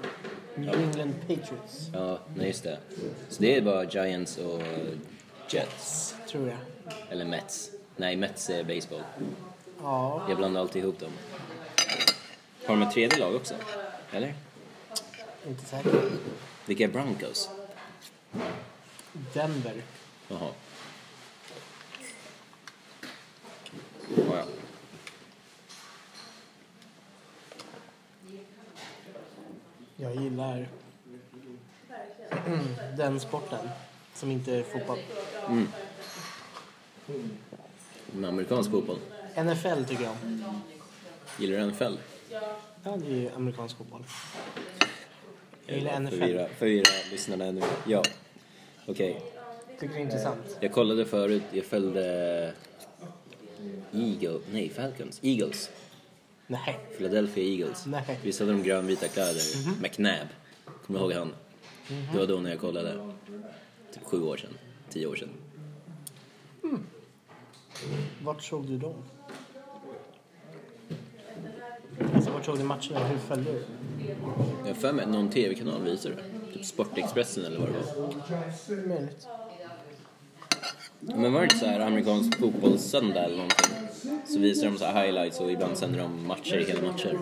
Speaker 2: New England Patriots,
Speaker 1: Ja, nej just det. Så det är bara Giants och Jets.
Speaker 2: tror jag.
Speaker 1: Eller Mets. Nej, Mets är baseball.
Speaker 2: Ja,
Speaker 1: Jag blandar alltid ihop dem. Har de ett tredje lag också? Eller?
Speaker 2: inte säker.
Speaker 1: Vilka är Broncos?
Speaker 2: Denver.
Speaker 1: Jaha. Oh, ja.
Speaker 2: Jag gillar mm, den sporten som inte är fotboll.
Speaker 1: Men amerikansk fotboll.
Speaker 2: NFL tycker jag om.
Speaker 1: Gillar du NFL?
Speaker 2: Ja, det är ju amerikansk fotboll. Jag gillar NFL.
Speaker 1: Förvirra, förvirra lyssnarna ännu mer. Ja. Okej.
Speaker 2: Tycker det är intressant.
Speaker 1: Jag kollade förut, jag följde Eagle, nej Falcons, Eagles,
Speaker 2: Nej.
Speaker 1: Philadelphia Eagles.
Speaker 2: Nej.
Speaker 1: Visst hade de grönvita kläder? McNabb, kommer du ihåg han? Det var då när jag kollade, typ sju år sedan, tio år sedan.
Speaker 2: Vart såg du dem? Alltså vart såg du matcherna? Hur följde du?
Speaker 1: Jag har för mig att någon tv-kanal visade det, typ Sportexpressen eller vad det var.
Speaker 2: Möjligt.
Speaker 1: Men var det inte så här amerikansk fotbollssöndag eller någonting? Så visar de så här highlights och ibland sänder de matcher, hela matcher.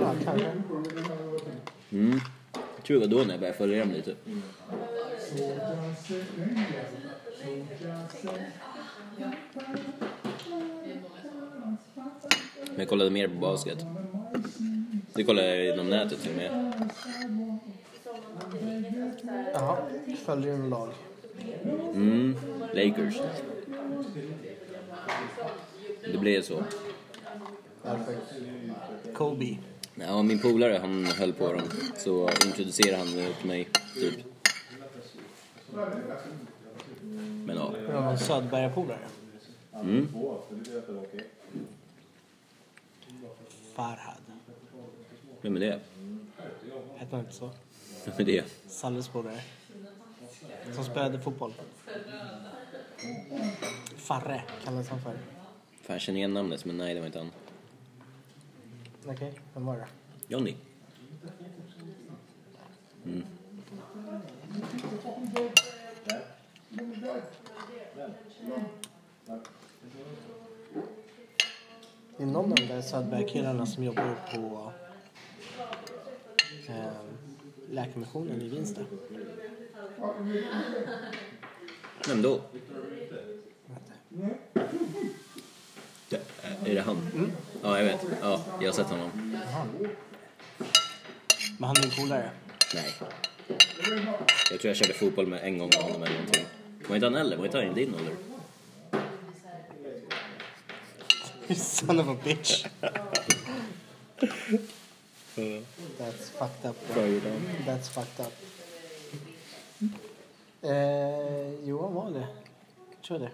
Speaker 2: Ja, kanske.
Speaker 1: Jag tror det var då när jag började följa dem lite. Men jag kollade mer på basket. Det kollar jag inom nätet till och med.
Speaker 2: Jaha, följer en lag.
Speaker 1: Mm, Lakers. Det blev så.
Speaker 2: Perfekt. Kobe.
Speaker 1: Ja, min polare han höll på dem. Så introducerade han det till mig, typ. Men ja.
Speaker 2: Det var en Söderberga-polare.
Speaker 1: Mm.
Speaker 2: Farhad.
Speaker 1: Vem är det?
Speaker 2: Hette han inte så?
Speaker 1: Vem är det?
Speaker 2: Salles polare. Som spelade fotboll. Farre kallades han för.
Speaker 1: Fan, jag känner igen namnet, men nej, det var inte han.
Speaker 2: Okej, vem var det?
Speaker 1: Johnny.
Speaker 2: Det är någon av de där Söderberg-killarna som jobbar på eh, Läkarmissionen i Vinsta.
Speaker 1: Vem då? Det, är det han? Ja, jag vet. Ja, jag har sett honom.
Speaker 2: Men han är en polare.
Speaker 1: Nej. Jag tror jag körde fotboll med en gång med honom eller någonting. Var inte han äldre? Var inte han i din ålder?
Speaker 2: Son of a bitch. That's fucked up. bro. That's fucked up. Eh, Johan var det. Jag tror det.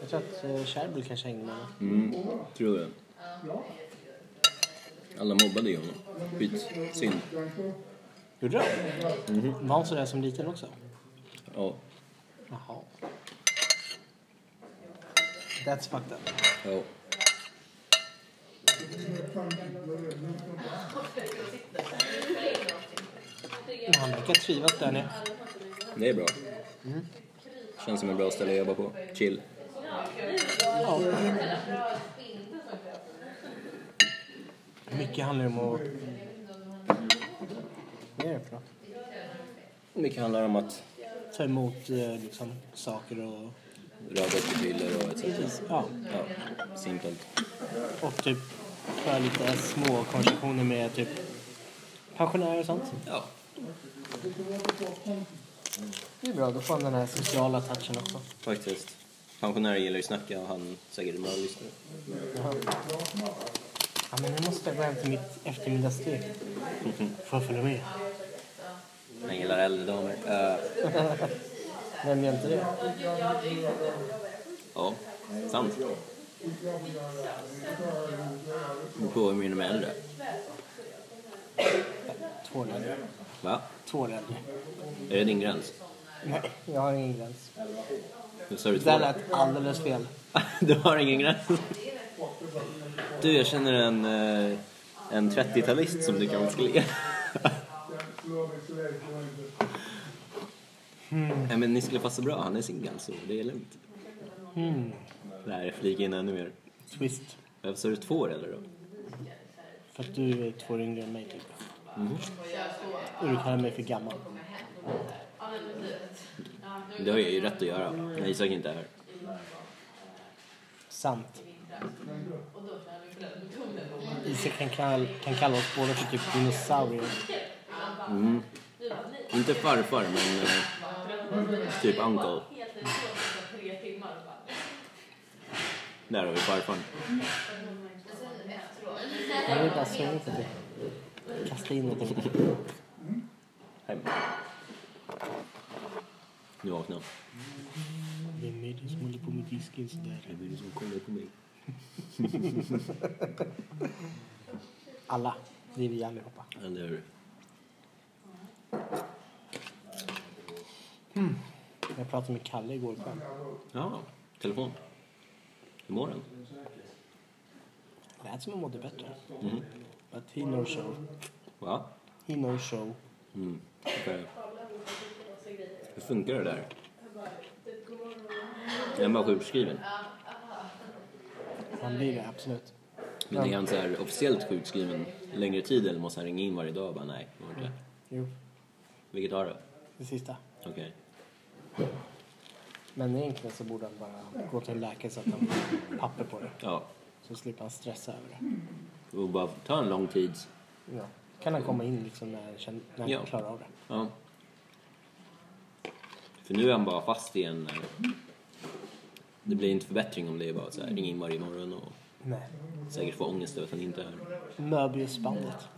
Speaker 2: Jag tror att eh, Sherbel kanske hängde med honom.
Speaker 1: Mm, tror jag. Alla mobbade ju honom. Skit, synd.
Speaker 2: Gjorde de? Var han sådär som liten också?
Speaker 1: Ja,
Speaker 2: Jaha. That's fucked up.
Speaker 1: ja.
Speaker 2: Men Han verkar trivas där nere.
Speaker 1: Det är bra. Känns som ett bra ställe att jobba på. Chill.
Speaker 2: Ja. Mycket handlar om att... Vad är det för något?
Speaker 1: Mycket handlar om att
Speaker 2: Ta emot eh, liksom, saker och...
Speaker 1: röra upp i bilder och etc.
Speaker 2: Ja.
Speaker 1: Ja, simpelt.
Speaker 2: Och typ köra lite små konversationer med typ pensionärer och sånt.
Speaker 1: Ja.
Speaker 2: Det är bra, då får han den här sociala touchen också.
Speaker 1: Faktiskt. Pensionärer gillar ju snacka och han säkert en bra lyssnare.
Speaker 2: Ja. Ja, men nu måste jag gå hem till mitt eftermiddagsstek. Får jag följa med?
Speaker 1: Han gillar äldre damer. Eh,
Speaker 2: Vem gör inte det?
Speaker 1: ja, sant. Du påminner mig äldre.
Speaker 2: Två år äldre.
Speaker 1: Va?
Speaker 2: Två år äldre.
Speaker 1: Är det din gräns?
Speaker 2: Nej, jag har ingen gräns.
Speaker 1: Nu sa du
Speaker 2: Det
Speaker 1: två.
Speaker 2: där lät alldeles fel.
Speaker 1: Du har ingen gräns. Du, jag känner en, eh, en 30-talist som du kanske skulle ge. Nej, men ni skulle passa bra. Han är singel, så det är lugnt. Nej, flika in ännu mer. Eh,
Speaker 2: Twist.
Speaker 1: Varför sa du två år eller då?
Speaker 2: För att du är två år yngre än mig typ. Och du kallar mig för gammal.
Speaker 1: Det har jag ju rätt att göra. Nej, Isak är inte här.
Speaker 2: Sant. Isak kan, kall, kan kalla oss båda för typ dinosaurier.
Speaker 1: Mm. Inte farfar, men eh, typ uncle. Där har vi farfarn.
Speaker 2: Jag vill bara slänga inte det. Kasta in det.
Speaker 1: Hej. Nu vaknar han.
Speaker 2: Vem är det som håller på med disken sådär?
Speaker 1: Vem är det som kollar på mig?
Speaker 2: Alla. Det är vi allihopa.
Speaker 1: Eller hur?
Speaker 2: Jag pratade med Kalle igår kväll.
Speaker 1: Ja, telefon. Hur mår den?
Speaker 2: Lät som han mådde bättre. But he no show.
Speaker 1: Va?
Speaker 2: He no show.
Speaker 1: Mm. okej. Hur funkar det där? Är han bara sjukskriven?
Speaker 2: Han blir det absolut.
Speaker 1: Men är han så här officiellt sjukskriven längre tid eller måste han ringa in varje dag och bara nej, det var inte.
Speaker 2: Jo,
Speaker 1: Vilket har du?
Speaker 2: det sista.
Speaker 1: Okej.
Speaker 2: Men egentligen så borde han bara gå till en läkare så att han får papper på det.
Speaker 1: Ja.
Speaker 2: Så slipper han stressa över det.
Speaker 1: Och bara ta en lång tids
Speaker 2: Ja. Kan han komma in liksom när, han känner- när han
Speaker 1: Ja.
Speaker 2: klarar av det.
Speaker 1: Ja. För nu är han bara fast i en... eh, Det blir inte förbättring om det är bara så här, ring in varje morgon och
Speaker 2: Nej.
Speaker 1: säkert få ångest över att han inte är
Speaker 2: Möbiusbandet.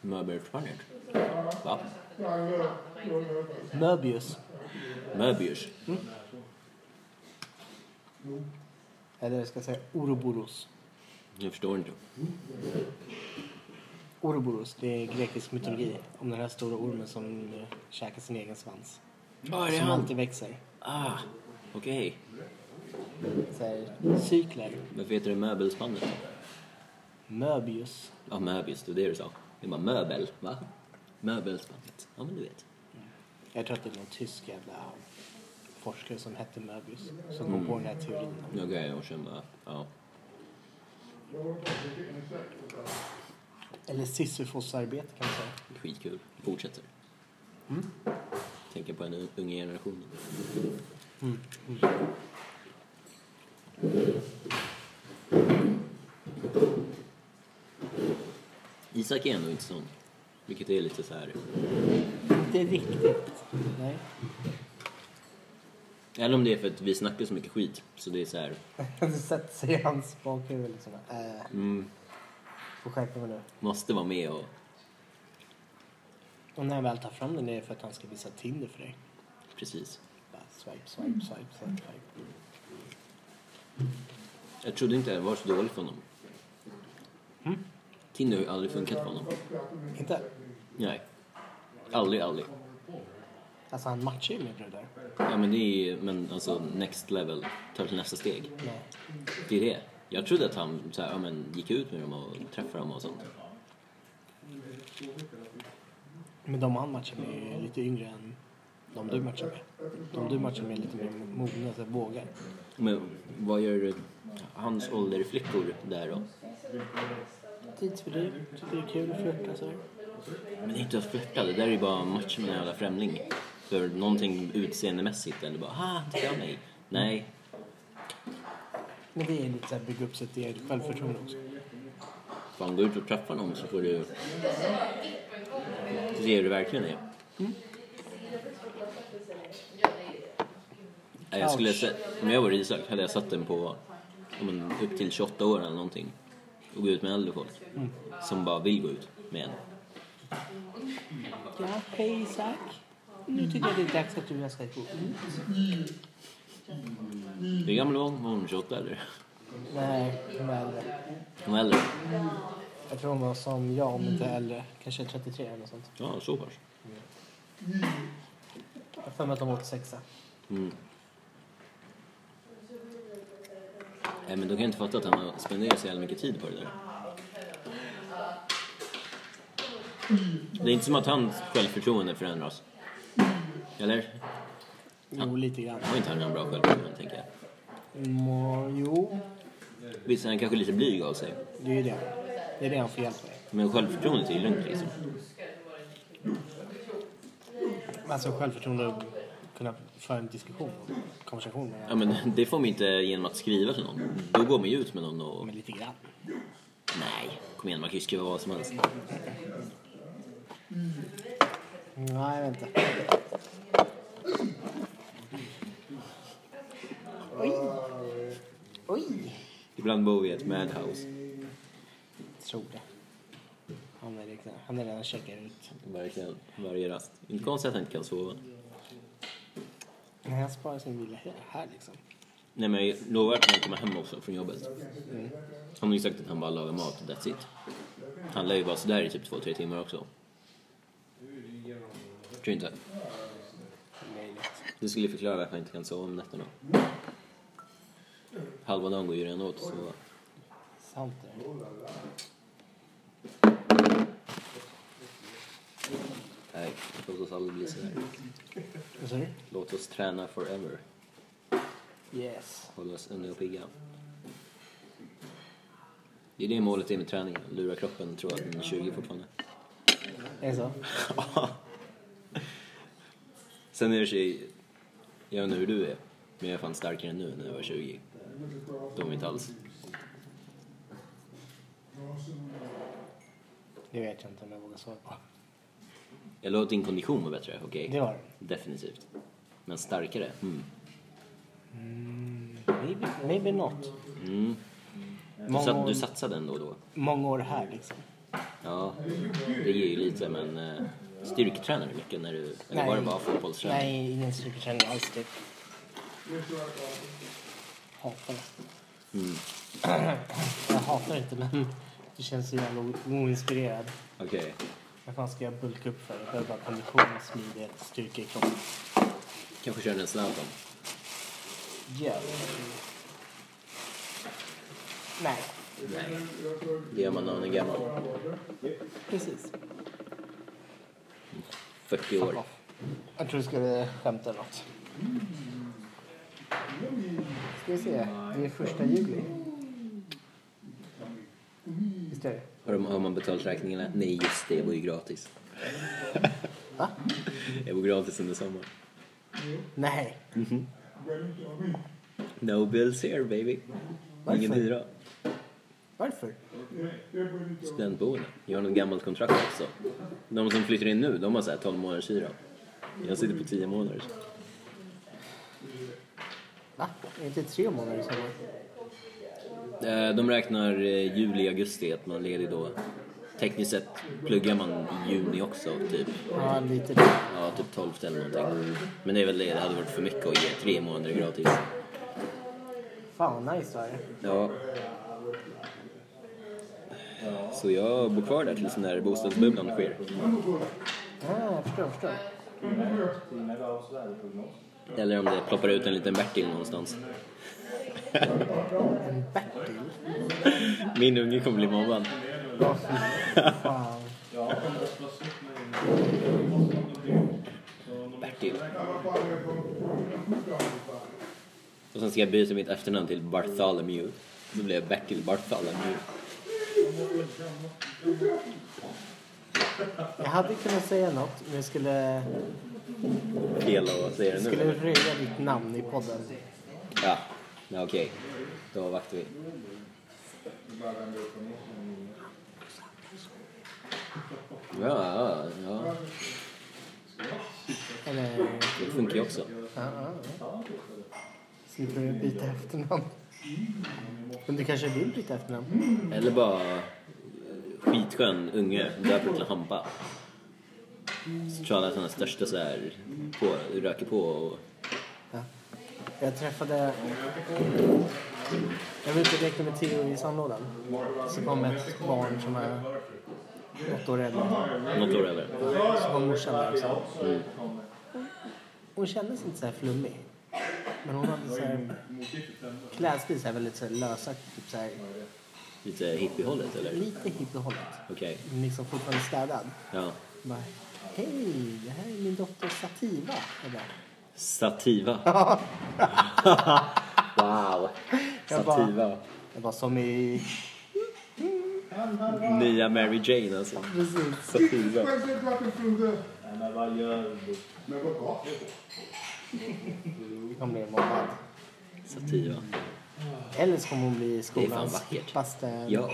Speaker 1: Möberförfattare. Va?
Speaker 2: Möbius.
Speaker 1: Möbius?
Speaker 2: Eller jag ska säga Ouroboros.
Speaker 1: Jag förstår inte.
Speaker 2: Ouroboros, det är grekisk mytologi. Om den här stora ormen som eh, käkar sin egen svans.
Speaker 1: Ah, det är
Speaker 2: Som
Speaker 1: han!
Speaker 2: alltid växer.
Speaker 1: Ah, okej.
Speaker 2: Så här, cykler.
Speaker 1: Varför heter det möbelspannet?
Speaker 2: Möbius.
Speaker 1: Ja, möbius, det var det du sa. Det är bara möbel, va? Möbelspannet. Ja, men du vet.
Speaker 2: Jag tror att det är någon tysk jävla forskare som hette Möbius. Som kom
Speaker 1: Mm.
Speaker 2: på den här teorin.
Speaker 1: Okej, och sen bara, ja.
Speaker 2: Eller Sisyfos-arbete kan man säga.
Speaker 1: Skitkul. Fortsätter. Tänker på den unga generationen. Isak är ändå inte sån. Vilket är lite så här...
Speaker 2: Inte riktigt. Nej.
Speaker 1: Eller om det är för att vi snackar så mycket skit. Så det är så här...
Speaker 2: Det sätter sig i hans bakhuvud liksom. Äh,
Speaker 1: Mm,
Speaker 2: får skärpa mig nu.
Speaker 1: måste vara med och...
Speaker 2: Och när han väl tar fram den är det för att han ska visa Tinder för dig.
Speaker 1: Precis.
Speaker 2: Bara swipe, swipe, swipe, swipe, swipe.
Speaker 1: Jag trodde inte det var så dåligt för honom. Tinder har ju aldrig funkat för honom.
Speaker 2: Inte?
Speaker 1: Nej. Aldrig, aldrig.
Speaker 2: Alltså han matchar ju med brudar.
Speaker 1: Ja men det är ju, men alltså next level, tar till nästa steg.
Speaker 2: Nej.
Speaker 1: Det är det. Jag trodde att han så här, ja, men, gick ut med dem och träffade dem och sånt.
Speaker 2: Men de han matchar med är ju lite yngre än de du matchar med. De du matchar med är lite mer mogna, så här, vågar.
Speaker 1: Men vad gör hans ålderflickor där då?
Speaker 2: Tidsfördriv, tycker det är kul att flirta så här.
Speaker 1: Men det är inte att flirta, det där är ju bara match med en jävla främling. För någonting utseendemässigt eller bara ah, tycker jag mig. Nej,
Speaker 2: Men det är lite såhär bygga upp sitt eget självförtroende också.
Speaker 1: fan gå ut och träffa någon så får du... Se hur det verkligen är. Nej, Jag skulle, sä- om jag var Isak hade jag satt den på om en, upp till 28 år eller någonting och gå ut med äldre folk som bara vill gå ut med en.
Speaker 2: Ja, hej Mm. Isak. Nu tycker jag det är dags att du och jag ska gå ut.
Speaker 1: Hur gammal var hon? Var hon 28 eller?
Speaker 2: Nej, hon är äldre.
Speaker 1: Hon var äldre?
Speaker 2: Jag tror hon var som jag, om inte äldre. Kanske 33 eller något sånt.
Speaker 1: Ja, så pass.
Speaker 2: Jag har för mig att de var 86.
Speaker 1: Mm. Nej men då kan jag inte fatta att han har spenderat så jävla mycket tid på det där. Det är inte som att hans självförtroende förändras. Eller?
Speaker 2: Jo, lite grann.
Speaker 1: Har inte han en bra självförtroende tänker jag?
Speaker 2: Må, jo,
Speaker 1: Visst, han är kanske lite blyg av sig.
Speaker 2: det är ju det. Det är det han får hjälp med.
Speaker 1: Men självförtroendet är ju lugnt liksom.
Speaker 2: Alltså självförtroende att kunna föra en diskussion och konversation med
Speaker 1: Ja
Speaker 2: varandra.
Speaker 1: men det får man ju inte genom att skriva till någon. Då går man ju ut med någon och...
Speaker 2: Men lite grann.
Speaker 1: Nej, kom igen man kan ju skriva vad som helst.
Speaker 2: Nej, vänta. Oj! Oj!
Speaker 1: Ibland bor vi i ett madhouse.
Speaker 2: Tror det. Han är, liksom, han är redan checkad ut.
Speaker 1: Verkligen, varje rast. Inte konstigt att han inte kan sova.
Speaker 2: Men han sparar sin vila här, här liksom.
Speaker 1: Nej men jag lovar att han kommer hem också från jobbet. Han har ju sagt att han bara lagar mat och that's it. Han lär ju vara sådär i typ två, tre timmar också. Tror du inte?
Speaker 2: Möjligt.
Speaker 1: Det skulle förklara varför han inte kan sova om nätterna. Halva dagen går ju redan åt att sova.
Speaker 2: Sant det.
Speaker 1: Nej, låt oss aldrig bli sådär.
Speaker 2: Vad sa du?
Speaker 1: Låt oss träna forever.
Speaker 2: Yes.
Speaker 1: Hålla oss unga och pigga. Det är det målet är med träningen. Lura kroppen och tro att den är 20 fortfarande.
Speaker 2: Är det så?
Speaker 1: Sen är det sig, jag vet inte hur du är, men jag är fan starkare nu än när jag var 20. Då var jag inte alls.
Speaker 2: Det vet jag inte om jag vågar svara på.
Speaker 1: Jag låter din kondition var bättre, okej?
Speaker 2: Det var det.
Speaker 1: Definitivt. Men starkare? Mm.
Speaker 2: Maybe, maybe not.
Speaker 1: mm. Du,
Speaker 2: Många
Speaker 1: sat,
Speaker 2: år,
Speaker 1: du satsade ändå då?
Speaker 2: många år här liksom.
Speaker 1: Ja, det ger ju lite men eh, styrketränar du mycket när du, eller var det bara fotbollsträning?
Speaker 2: Nej, ingen styrketräning alls typ. Hatar det.
Speaker 1: Mm.
Speaker 2: Jag hatar det inte men det känns så jävla o- oinspirerad.
Speaker 1: Okej,
Speaker 2: Vad fan ska jag bulka upp för? Jag behöver bara kondition, smidighet, styrka i kroppen.
Speaker 1: kanske kör en Zlatan.
Speaker 2: Jävlar. Nej,
Speaker 1: Nej, det gör man när man är gammal.
Speaker 2: precis.
Speaker 1: 40
Speaker 2: Fuck
Speaker 1: år.
Speaker 2: off. Jag tror du skulle skämta eller något. Ska vi se. Det är första juli. Visst är det?
Speaker 1: Har, de, har man betalt räkningarna? Nej, just det, jag bor ju gratis.
Speaker 2: Va?
Speaker 1: Jag bor gratis under sommaren.
Speaker 2: Nej.
Speaker 1: No bills here baby. Ingen
Speaker 2: Varför?
Speaker 1: hyra.
Speaker 2: Varför?
Speaker 1: Studentboende. Jag har något gammalt kontrakt också. De som flyttar in nu, de har så här 12 månaders hyra. Jag sitter på 10 månader.
Speaker 2: Va? Är det inte tre månader som går?
Speaker 1: Eh, De räknar eh, juli, augusti, att man är ledig då. Tekniskt sett pluggar man i juni också, typ.
Speaker 2: Ja, lite det.
Speaker 1: Ja, typ 12 eller någonting. Men det är väl det, det hade varit för mycket att ge tre månader gratis.
Speaker 2: Fan vad nice var det
Speaker 1: Ja. Så jag bor kvar där tills den där bostadsbubblan sker.
Speaker 2: Ja, jag förstår, jag förstår.
Speaker 1: Eller om det ploppar ut en liten Bertil någonstans.
Speaker 2: En Bertil?
Speaker 1: Min unge kommer bli mobbad.
Speaker 2: Ja, fy fan.
Speaker 1: Bertil. Och sen ska jag byta mitt efternamn till Bartholomew. Då blir jag Bertil Bartholomew.
Speaker 2: Jag hade kunnat säga något, men jag skulle,
Speaker 1: Fel att säga det nu.
Speaker 2: skulle
Speaker 1: eller?
Speaker 2: röja ditt namn i podden.
Speaker 1: Ja, ja okej. Då avvaktar vi. Ja, ja, ja.
Speaker 2: Eller, ja,
Speaker 1: Det funkar ju också.
Speaker 2: ja, ja. Slipper du byta efternamn. Men du kanske vill byta efternamn?
Speaker 1: Eller bara eh, skitskön unge, döper till Hampa. Så tror alla att han är största så här, på, röker på och...
Speaker 2: Ja. Jag träffade... Jag var ute och lekte med Theo i sandlådan. Så kom ett barn som är något år äldre.
Speaker 1: Något år över.
Speaker 2: Så var morsan där också. Hon kändes inte så här flummig. Men hon hade så här klädstil så här väldigt så här lösa, typ så här,
Speaker 1: Lite hippiehållet eller?
Speaker 2: lite hippiehållet.
Speaker 1: Okej.
Speaker 2: Men liksom fortfarande städad.
Speaker 1: Ja.
Speaker 2: Hon bara, hej, det här är min dotter Sativa. Jag bara,
Speaker 1: Sativa. wow.
Speaker 2: Jag bara-
Speaker 1: Sativa.
Speaker 2: jag bara som i...
Speaker 1: Nya Mary Jane alltså.
Speaker 2: Precis.
Speaker 1: Sativa.
Speaker 4: Men vad gott.
Speaker 2: Hon blev mobbad.
Speaker 1: Sativa.
Speaker 2: Eller så kommer hon bli
Speaker 1: fan
Speaker 2: skolans
Speaker 1: vackert.
Speaker 2: hippaste.
Speaker 1: Ja,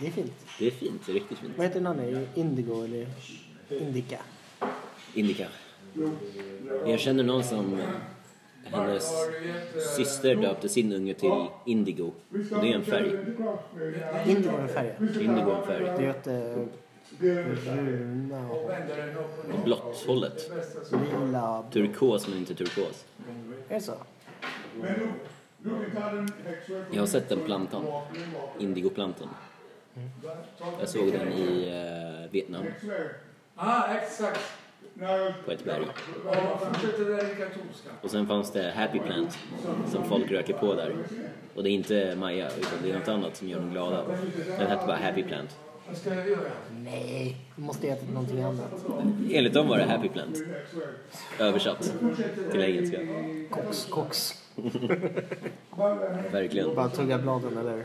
Speaker 2: Det är fint.
Speaker 1: det är fint. Det är riktigt fint.
Speaker 2: Vad heter den andra? Indigo eller Indica?
Speaker 1: Indica. Jag känner någon som eh, hennes syster döpte sin unge till Indigo. Det är en färg.
Speaker 2: Indigo är en färg.
Speaker 1: Indigo är en färg.
Speaker 2: Det är åt eh, bruna och
Speaker 1: Blått hållet.
Speaker 2: lila.
Speaker 1: Turkos men inte turkos.
Speaker 2: Är det så?
Speaker 1: Jag har sett den plantan. Indigoplantan. Jag såg den i eh, Vietnam
Speaker 7: Ja, exakt.
Speaker 1: på ett berg.
Speaker 7: Och fortsätter det där lika katolska.
Speaker 1: Och sen fanns det Happy Plant som folk röker på där. Och det är inte Maja utan det är något annat som gör dem glada. Den hette bara Happy Plant.
Speaker 7: Vad ska jag göra?
Speaker 2: Nej, du måste äta någonting annat.
Speaker 1: Enligt dem var det Happy Plant. Översatt till engelska.
Speaker 2: Koks, koks.
Speaker 1: Verkligen.
Speaker 2: Bara tugga bladen eller?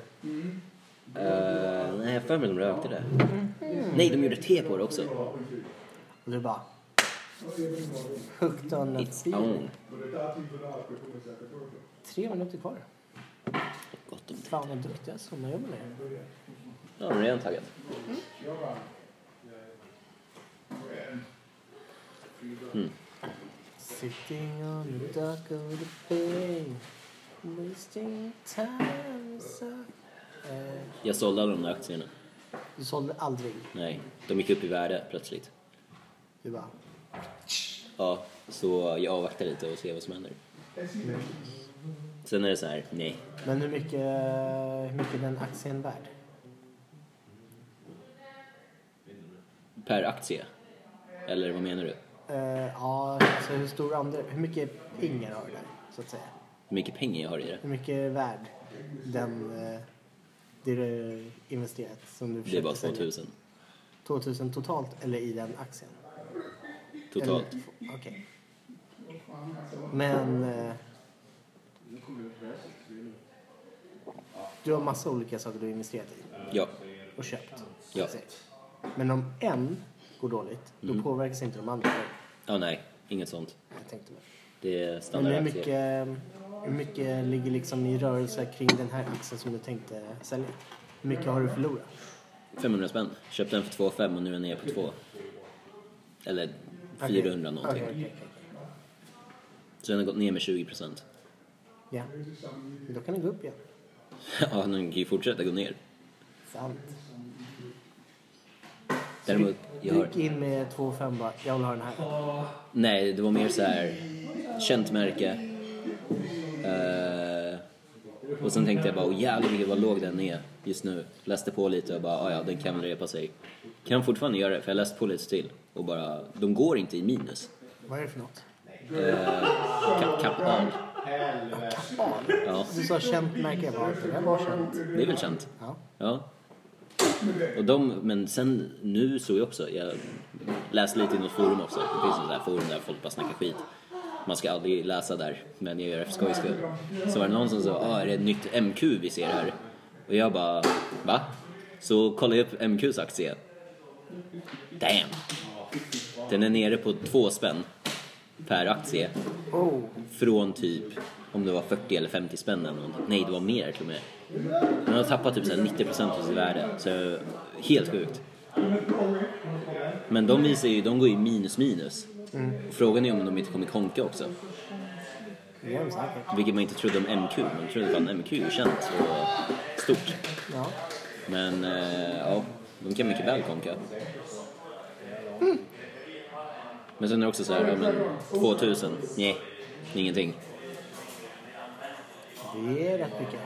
Speaker 1: Eh, nej, jag har för mig de rökte det.
Speaker 2: Mm.
Speaker 1: Nej, de gjorde te på det också.
Speaker 2: Och du bara... Hooked on a
Speaker 1: It's own.
Speaker 2: feeling. Tre minuter kvar.
Speaker 1: Gott om te.
Speaker 2: Fan vad duktiga som jobbar med det.
Speaker 1: Ja, de är redan taggat.
Speaker 2: Sitting on the dock of the bay Wasting time so... Eh,
Speaker 1: Jag sålde alla de där aktierna.
Speaker 2: Du sålde aldrig.
Speaker 1: Nej, de gick upp i värde plötsligt.
Speaker 2: Du bara...
Speaker 1: Ja, så jag avvaktar lite och ser vad som händer. Sen är det så här, nej.
Speaker 2: Men hur mycket, hur mycket är den aktien värd?
Speaker 1: Per aktie? Eller vad menar du?
Speaker 2: Eh, ja, alltså hur stor andel, hur mycket pengar har du där, så att säga?
Speaker 1: Hur mycket pengar jag har i det?
Speaker 2: Hur mycket är värd den, eh, det du investerat som du
Speaker 1: Det är
Speaker 2: försöker
Speaker 1: bara
Speaker 2: sälja?
Speaker 1: 2000.
Speaker 2: 2000 totalt eller i den aktien?
Speaker 1: Totalt.
Speaker 2: Eller- Okej. Men... Eh, du har massa olika saker du har investerat i
Speaker 1: Ja,
Speaker 2: och köpt. så att
Speaker 1: Ja. Mm.
Speaker 2: säga. Men om en går dåligt, då påverkas inte de andra.
Speaker 1: ja nej, inget sånt.
Speaker 2: Jag tänkte väl.
Speaker 1: Det är
Speaker 2: Men hur
Speaker 1: standardaktier.
Speaker 2: mycket, hur mycket ligger liksom i rörelse kring den här aktien som du tänkte sälja? Hur mycket har du förlorat?
Speaker 1: 500 spänn. Köpte den för 2,5 och nu är den nere på 2. Eller 400 någonting.
Speaker 2: Okej, okej, okej.
Speaker 1: Så den har gått ner med 20 procent.
Speaker 2: Ja, Men då kan den gå upp igen.
Speaker 1: Ja, den kan ju fortsätta gå ner.
Speaker 2: Sant.
Speaker 1: Däremot, jag
Speaker 2: Du
Speaker 1: har...
Speaker 2: gick in med 2 5 bara, jag vill ha den här.
Speaker 1: Nej, det var mer så här känt märke. Eh, och sen tänkte jag bara, åh jävlar vilken- vad låg den är just nu. Läste på lite och bara, "Ah, ja den kan väl repa sig. Kan fortfarande göra det, för jag läste på lite till. Och bara, de går inte i minus.
Speaker 2: Vad är det för något?
Speaker 1: Ka- Kappahl. Ja,
Speaker 2: Du sa känt märke, jag bara, det här var känt.
Speaker 1: det är väl känt.
Speaker 2: Ja.
Speaker 1: Ja. Och de, men sen nu såg jag också, jag läste lite i något forum också. Det finns sådana där forum där folk bara snackar skit. Man ska aldrig läsa där, men jag gör det för skojs skull. Så var det någon som sa, ah, är det ett nytt MQ vi ser här? Och jag bara, va? Så kollade jag upp MQs aktie. Damn! Den är nere på två spänn per aktie.
Speaker 2: Oh,
Speaker 1: Från typ, om det var 40 eller 50 spänn eller någonting. Nej, det var mer till och med. Den har tappat typ så här 90% av sitt värde. Så helt sjukt. Men de visar ju, de går ju minus minus.
Speaker 2: Mm.
Speaker 1: Frågan är om de inte kommer konka också.
Speaker 2: det gör de säkert.
Speaker 1: Vilket man inte trodde om MQ. Man trodde fan MQ är känt och stort.
Speaker 2: Ja.
Speaker 1: Men eh, ja, de kan mycket väl konka.
Speaker 2: Mm.
Speaker 1: Men sen är det också så här, ja men 2000, nej, ingenting.
Speaker 2: Det är rätt mycket.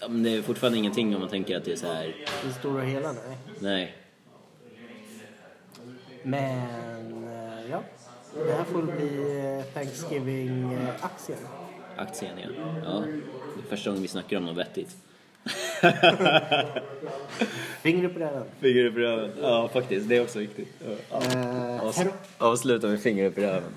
Speaker 1: Ja, men det är fortfarande ingenting om man tänker att det är så här.
Speaker 2: Det stora hela, nej.
Speaker 1: Nej.
Speaker 2: Men, eh, ja. Det här får bli eh, Thanksgiving-aktien.
Speaker 1: Aktien, ja. ja. Det är första gången vi snackar om något vettigt.
Speaker 2: Fingret på röven.
Speaker 1: Finger upp i röven. Ja, faktiskt. Det är också viktigt.
Speaker 2: Eh, hej då.
Speaker 1: Avsluta med finger upp i röven.